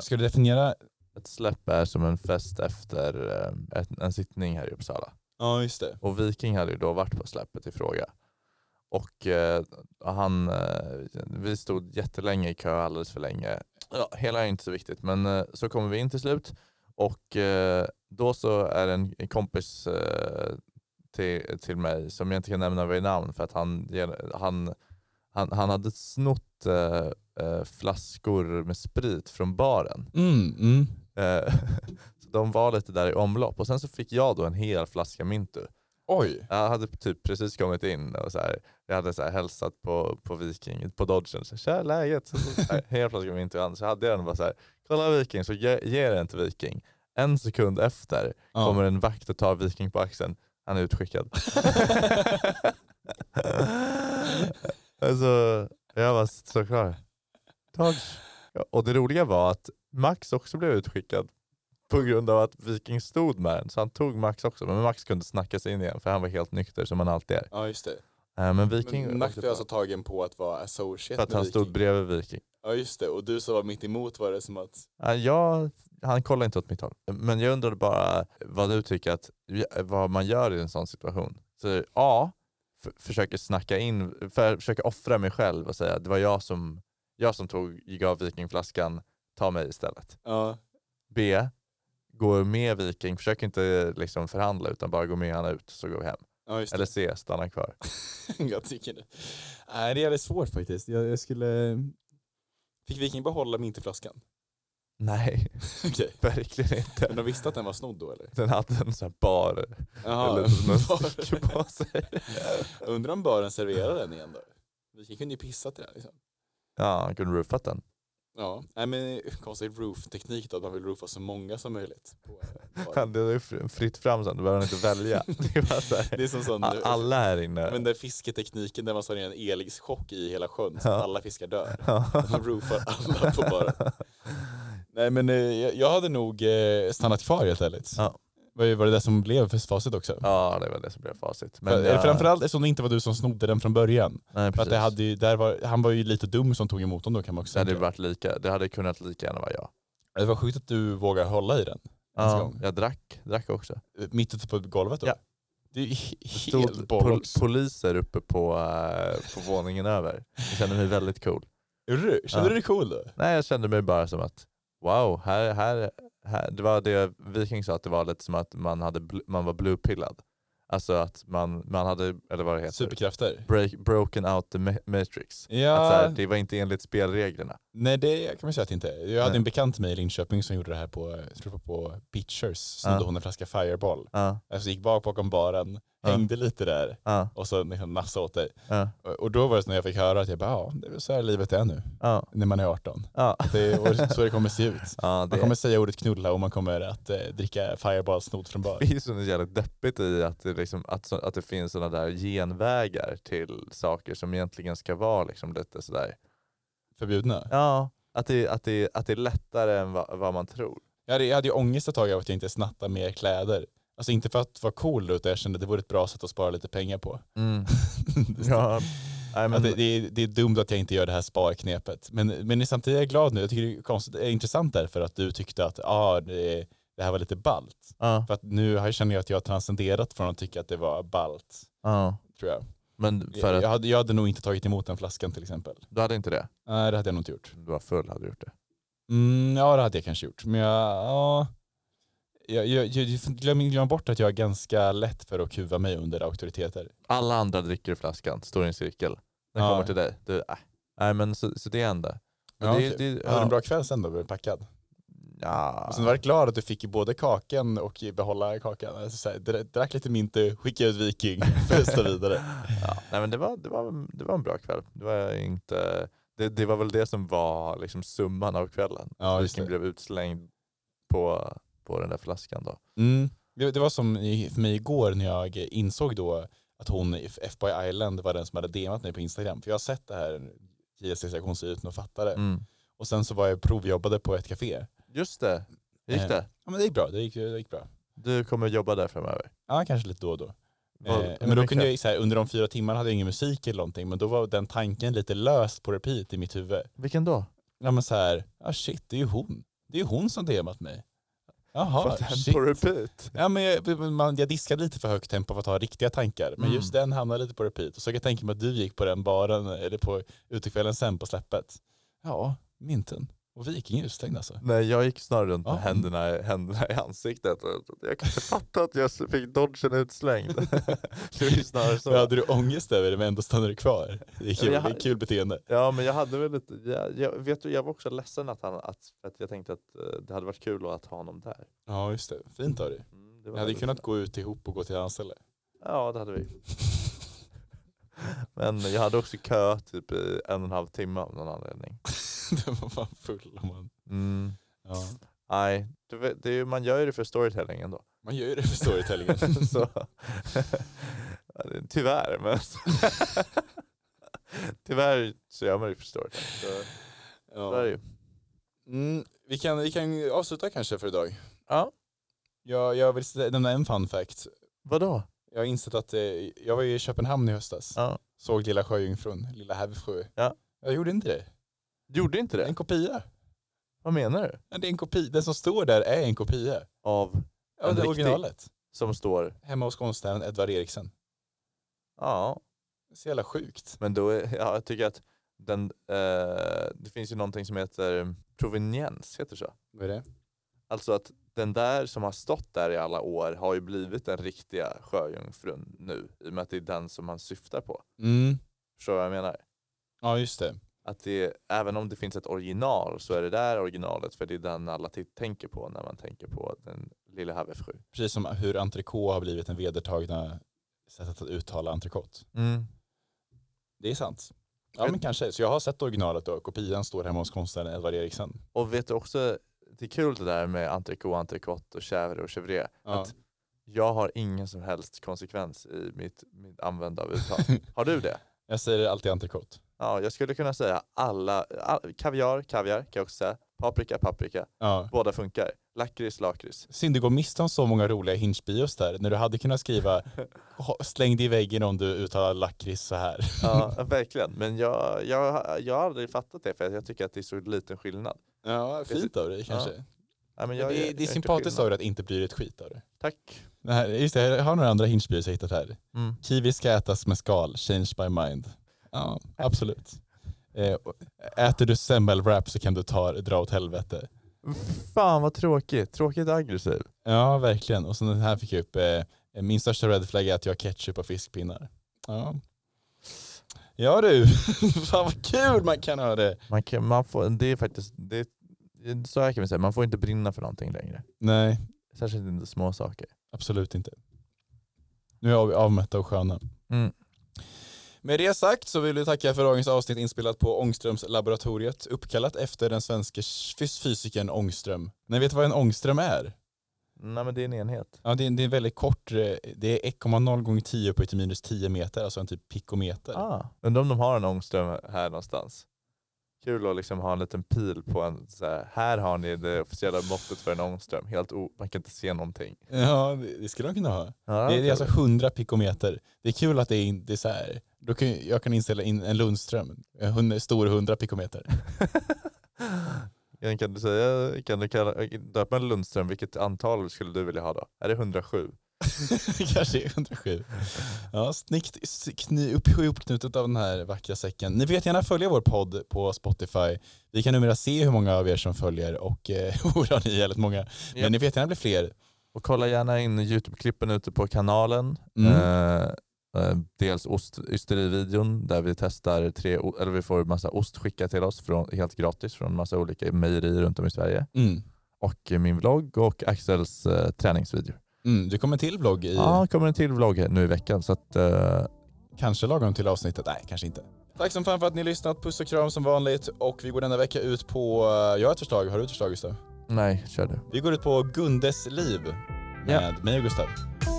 Ska du definiera? Ett släpp är som en fest efter eh, ett, en sittning här i Uppsala. Ja, just det. Och Viking hade ju då varit på släppet i fråga. Och eh, han, eh, vi stod jättelänge i kö, alldeles för länge. Ja, hela är inte så viktigt, men eh, så kommer vi in till slut. Och eh, då så är det en en kompis eh, till, till mig som jag inte kan nämna vid namn för att han, han, han, han hade snott eh, eh, flaskor med sprit från baren. Mm, mm. Eh, så de var lite där i omlopp. Och sen så fick jag då en hel flaska Mintu. Oj! Jag hade typ precis kommit in och så här, jag hade så här hälsat på, på Viking, på Dodgen. Så här, Tja, läget? Så, så här, hel flaska Mintu. och annars Så hade jag den bara så här, kolla Viking, så ge, ger den till Viking. En sekund efter Ja. kommer en vakt och tar Viking på axeln. Han är utskickad. alltså, jag var så klar. Tag. Ja, Och det roliga var att Max också blev utskickad på grund av att Viking stod med den. Så han tog Max också. Men Max kunde snacka sig in igen för han var helt nykter som han alltid är. Ja, just det. Eh, Men Viking Men Max åkte blev på alltså tagen på att vara associate för att med han Viking. stod bredvid Viking. Ja, just det. Och du som var mitt emot var det som att Eh, Jag, han kollade inte åt mitt håll. Men jag undrade bara vad du tycker att, vad man gör i en sån situation. Så A, f- försöker snacka in, för, försöker offra mig själv och säga det var jag som, jag som tog, gav Viking flaskan, ta mig istället. Ja. B, går med Viking, försök inte liksom förhandla utan bara gå med han ut så går vi hem. Ja, just det. Eller C, stanna kvar. jag tycker det. Nej, det är jävligt svårt faktiskt. Jag, jag skulle... Fick Viking behålla minterflaskan? Nej, Okej. verkligen inte. Men de visste att den var snodd då eller? Den hade en sån här bar, Jaha, eller en bar. musik på sig. Undrar om baren serverar den igen då? Viking kunde ju pissa till den liksom. Ja, han kunde roofat den. Ja, nej men konstigt roof-teknik då, att man vill roofa så många som möjligt. På, eh, baren. Han, det är ju fr- fritt fram sen, du behöver inte välja. Det är bara så här, Det är som sån- a- alla här inne. Men den fisketekniken där man slår ner en elchock i hela sjön så Ja. att alla fiskar dör. Ja. Att man roofar alla på bara. Nej men eh, jag- jag hade nog eh, stannat kvar helt ärligt. Ja. Var ju- var det det som blev för facit också? Ja, det var det som blev facit. Men jag- Framförallt eftersom det inte var du som snodde den från början. Nej, För att precis. det hade ju, där var, han var ju lite dum som tog emot dem då kan man också det, säga. hade ju varit lika, det hade kunnat lika gärna vara jag. Det var sjukt att du vågade hålla i den. ens Ja, gång. jag drack, drack också. eh, Mitt ute på golvet då? Ja. Det är ju Det he- helt stod pol- bollocks. poliser uppe på, eh, på våningen över. Jag kände mig väldigt cool. Gjorde du? Kände Ja. du dig cool då? Nej, jag kände mig bara som att wow, här, här, här det var det Viking sa att det var lite som att man, hade bl- man var bluepillad. Alltså att man, man hade, eller vad det heter, Superkrafter? break, broken out the ma- matrix. Att Ja, så här, det var inte enligt spelreglerna. nej det kan man säga att det inte är. Jag hade Nej. en bekant med i Linköping som gjorde det här på, jag tror det var på Pitchers, snodde Ja. hon en flaska Fireball. Ja, Alltså gick bak bakom baren, Ja. hängde lite där ja, och så liksom nafsade åt dig. ja, Och, och då var det så när jag fick höra att jag bara, ja det är väl så här livet är nu, ja. när man är 18. ja. Det, och så det kommer se ut. ja det Man kommer säga ordet knulla och man kommer att eh, dricka Fireball snodd från bar. finns något jävligt deppigt i att det, liksom, att, så, att det finns sådana där genvägar till saker som egentligen ska vara liksom lite sådär. Förbjudna. Ja, att det, att det, att det är lättare än vad, vad man tror. Jag hade, jag hade ju ångest ett tag av att jag inte snattade mer kläder. Alltså inte för att vara cool utan jag kände att det vore ett bra sätt att spara lite pengar på. Mm. Ja, nej, Att men, det, det, är, det är dumt att jag inte gör det här sparknepet. Men, men samtidigt är jag glad nu. Jag tycker det är, konstigt, det är intressant därför att du tyckte att ah, det, det här var lite ballt. ja, För att nu har- känner jag att jag har transcenderat från att tycka att det var ballt. ja. Tror jag. men för Jag, att jag, hade, jag hade nog inte tagit emot den flaskan till exempel. du hade inte det? Nej, det hade jag nog inte gjort. Du var full hade du gjort det. Mm, ja, det hade jag kanske gjort. Men jag, ja, jag, jag, jag, glöm, glöm bort att jag är ganska lätt för att kuva mig under auktoriteter. Alla andra dricker ur flaskan, står i en cirkel. Den Ja. kommer till dig. Du, äh. Nej men så, så det hände. Men Ja, det, okej. det, Hade du ja. typ. en bra kväll sen då? Blev du packad? Ja. Och sen var jag glad att du fick både kakan och behålla kakan. Alltså, så här, dra- drack lite mintu, skickade ut viking, festa vidare. Ja, nej men det var, det, var, det var en bra kväll. Det var, inte, det, det var väl det som var liksom summan av kvällen. Ja, just Viking det. blev utslängd på, på den där flaskan då. Mm. Det, det var som i- för mig igår när jag insåg då att hon i FBI Island var den som hade DMat mig på Instagram. För jag har sett det här JSC-sektionen se ut och fattade. Mm. Och sen så var jag provjobbade på ett café. Just det, Hur gick Eh. det? Ja men det gick bra, det gick, det gick bra. Du kommer jobba där framöver. Ja, kanske lite då och då. Vad- Eh, hur men då mycket? kunde jag, så här, under de fyra timmarna hade jag ingen musik eller någonting, men då var den tanken lite löst på repeat i mitt huvud. Vilken då? Ja men så här, ah shit det är ju hon. Det är ju hon som DMat mig. Jaha, Fått den shit. på repeat. Ja, men jag, man, jag diskade lite för högt tempo för att ha riktiga tankar. Men Mm. just den hamnade lite på repeat. Och så kan jag tänka mig att du gick på den baren, eller på utekvällen sen på släppet. Ja, minten. Och vi gick in utestängd alltså. Nej, jag gick snarare runt med Ja. händerna, händerna i ansiktet. Jag kan inte fatta att jag fick dodgen utslängd. det var ju snarare så. Men hade du ångest över det men ändå stannade du kvar? Det är Ja, men jag kul, det är hade- kul beteende. Ja, men jag hade väl lite, jag, jag, vet du, jag var också ledsen att, han, att, för att jag tänkte att eh, det hade varit kul att ha honom där. Ja, just det. Fint av dig. Mm, det Ni var hade ju väldigt- kunnat gå ut ihop och gå till hans ställe. Ja, det hade vi. Men jag hade också kö typ i en och en halv timme av någon anledning. det var fan full om man. Mm. Ja. Nej, du vet, det är, ju- man gör ju det för storytellingen då. Man gör ju det för storytellingen. så. Ja, det- Tyvärr, men tyvärr så gör man det för storytelling. Så, Ja. så är det ju. Mm, vi, kan, vi kan avsluta kanske för idag. Ja. Jag, jag vill s- nämna en fun fact. Vadå? Jag har insett att eh, jag var ju i Köpenhamn i höstas. Ja. Såg Lilla Sjöjungfrun, Lilla Hävsjö. Ja. Jag gjorde inte det. Gjorde inte Det är en det? kopia. Vad menar du? Ja, det är en kopia. Den som står där är en kopia. Av Ja, En det är riktig. originalet. som står, Hemma hos konstnären Edvard Eriksen. ja, Så jävla sjukt. men då är, ja, jag tycker att den, eh, det finns ju någonting som heter proveniens, heter det så? Vad är det? Alltså att den där som har stått där i alla år har ju blivit den riktiga sjöjungfrun nu. I och med att det är den som man syftar på. Mm. Förstår du vad jag menar? Ja, just det. Att det, även om det finns ett original så är det där originalet för det är den alla t- tänker på när man tänker på den lilla havefru. Precis som hur entrecote har blivit en vedertagna sättet att uttala entrecote. Det är sant. Ja men kanske. Så jag har sett originalet och kopian står hemma hos konstnären Edvard Eriksen. Och vet du också, det är kul det där med entrecote, entrecote och chèvre och chèvre. Ja. Att jag har ingen som helst konsekvens i mitt, mitt använda av uttal. Har du det? Jag säger alltid entrecote. Ja, jag skulle kunna säga alla, all, kaviar, kaviar kan jag också säga. Paprika, paprika. Ja. Båda funkar. Lakrits, lakrits. Synd du går miste om så många roliga hinchbios där när du hade kunnat skriva "Ha- släng dig i väggen om du uttalar lakrits så här. Ja, verkligen. Men jag, jag, jag har aldrig fattat det för att jag tycker att det är så liten skillnad. Ja, fint av dig kanske. Ja, men Men jag, det, jag- är- jag det är inte sympatiskt av skillnad. dig att inte bry dig ett skit av det. Tack. det här, just det, jag har några andra hinchbios jag hittat här. Mm. Kiwi ska ätas med skal, change my mind. Ja, absolut. Eh, och äter du semmelwrap så kan du ta, dra åt helvete. Fan vad tråkigt. Tråkigt aggressiv. Ja, verkligen. Och sen den här fick jag upp. Eh, min största red flag är att jag har ketchup och fiskpinnar. Ja, ja du. Fan vad kul man kan ha det. Man kan, man får, det är faktiskt, det, är- så här kan vi säga, man får inte brinna för någonting längre. Nej, Särskilt inte små saker. absolut inte. Nu är vi avmätta och sköna. Mm. Med det sagt så vill vi tacka för dagens avsnitt inspelat på Ångströms laboratoriet uppkallat efter den svenske fys- fysikern Ångström. Ni vet vad en ångström är? Nej men det är en enhet. Ja, det är, det är väldigt kort. eh, Det är 1,0 gånger 10 upphöjt till minus 10 meter, alltså en typ pikometer. Ah. Undrar om de har en ångström här någonstans. Kul att liksom ha en liten pil på en så här, här har ni det officiella måttet för en ångström. Helt o, man kan inte se någonting. Ja, det, det skulle de kunna ha. Ja, Det är, det kul. är alltså 100 pikometer. Det är kul att det är, in- det är så här. Då kan, jag kan inställa in en Lundström, en hund- stor 100 pikometer. Kan du säga, kan du kalla, döpa en Lundström, vilket antal skulle du vilja ha då? Är det 107? Kanske är 107. Ja, snyggt s- kny, upp, uppknutet av den här vackra säcken. Ni får gärna följa vår podd på Spotify. Vi kan numera se hur många av er som följer och eh, hurra, ni är jävligt många. Men Ja. ni får gärna bli fler. Och kolla gärna in Youtube-klippen ute på kanalen. Mm. Eh, eh, dels ost, ysteri-videon där vi testar tre, o- eller vi får massa ost skickat till oss från, helt gratis från massa olika mejerier runt om i Sverige. Mm. Och eh, min vlogg och Axels eh, träningsvideo. Mm, du kommer en till vlogg i Ja, det kommer en till vlogg här nu i veckan. Så att, eh, kanske lagom till avsnittet. Nej, kanske inte. Tack som fan för att ni har lyssnat. Puss och kram som vanligt. Och vi går denna vecka ut på... eh, Jag har ett förslag. Har du ett förslag Gustav? nej, kör du. Vi går ut på Gundes liv med mig och Gustav.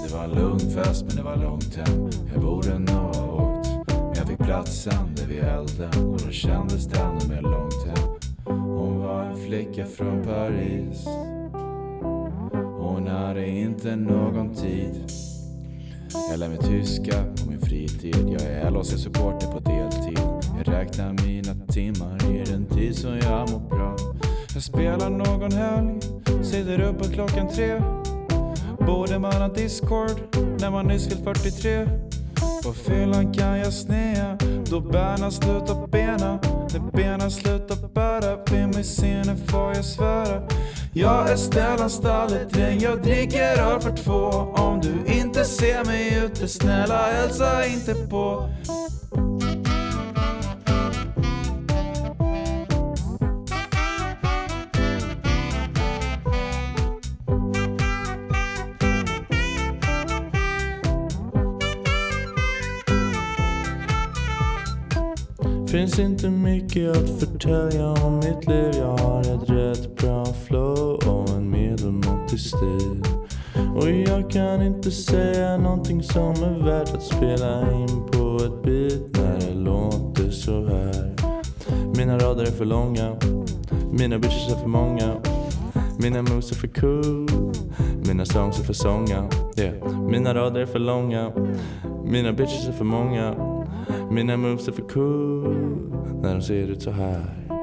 Det var en lugn fest men det var långt hem Jag borde nog ha åkt Men jag fick platsen där vid elden Och då kändes det ännu mer långt hem Hon var en flicka från Paris Hon hade inte någon tid Jag lär mig tyska på min fritid. Jag är LHC-supporter på deltid. Jag räknar mina timmar i den tid som jag mår bra. Jag spelar någon helg, sitter uppe klockan tre. Borde man ha Discord när man nyss fyllt 43? På fyllan kan jag snea då bärna slutar bena. När bena slutar bära vid mig sinne får jag svära. Jag är Stellan Stalledräng, jag dricker öl för två. Om du inte ser mig ute, snälla hälsa inte på. Finns inte mycket att förtälja om mitt liv. Jag har ett rätt bra flow och en medelmåttig stil. Och jag kan inte säga någonting som är värt att spela in på ett beat när det låter så här. Mina rader är för långa, mina bitches är för många. Mina moves är för cool, mina songs är för sånga. Yeah. Mina rader är för långa, mina bitches är för många. Mina moves är för cool när de ser ut så här.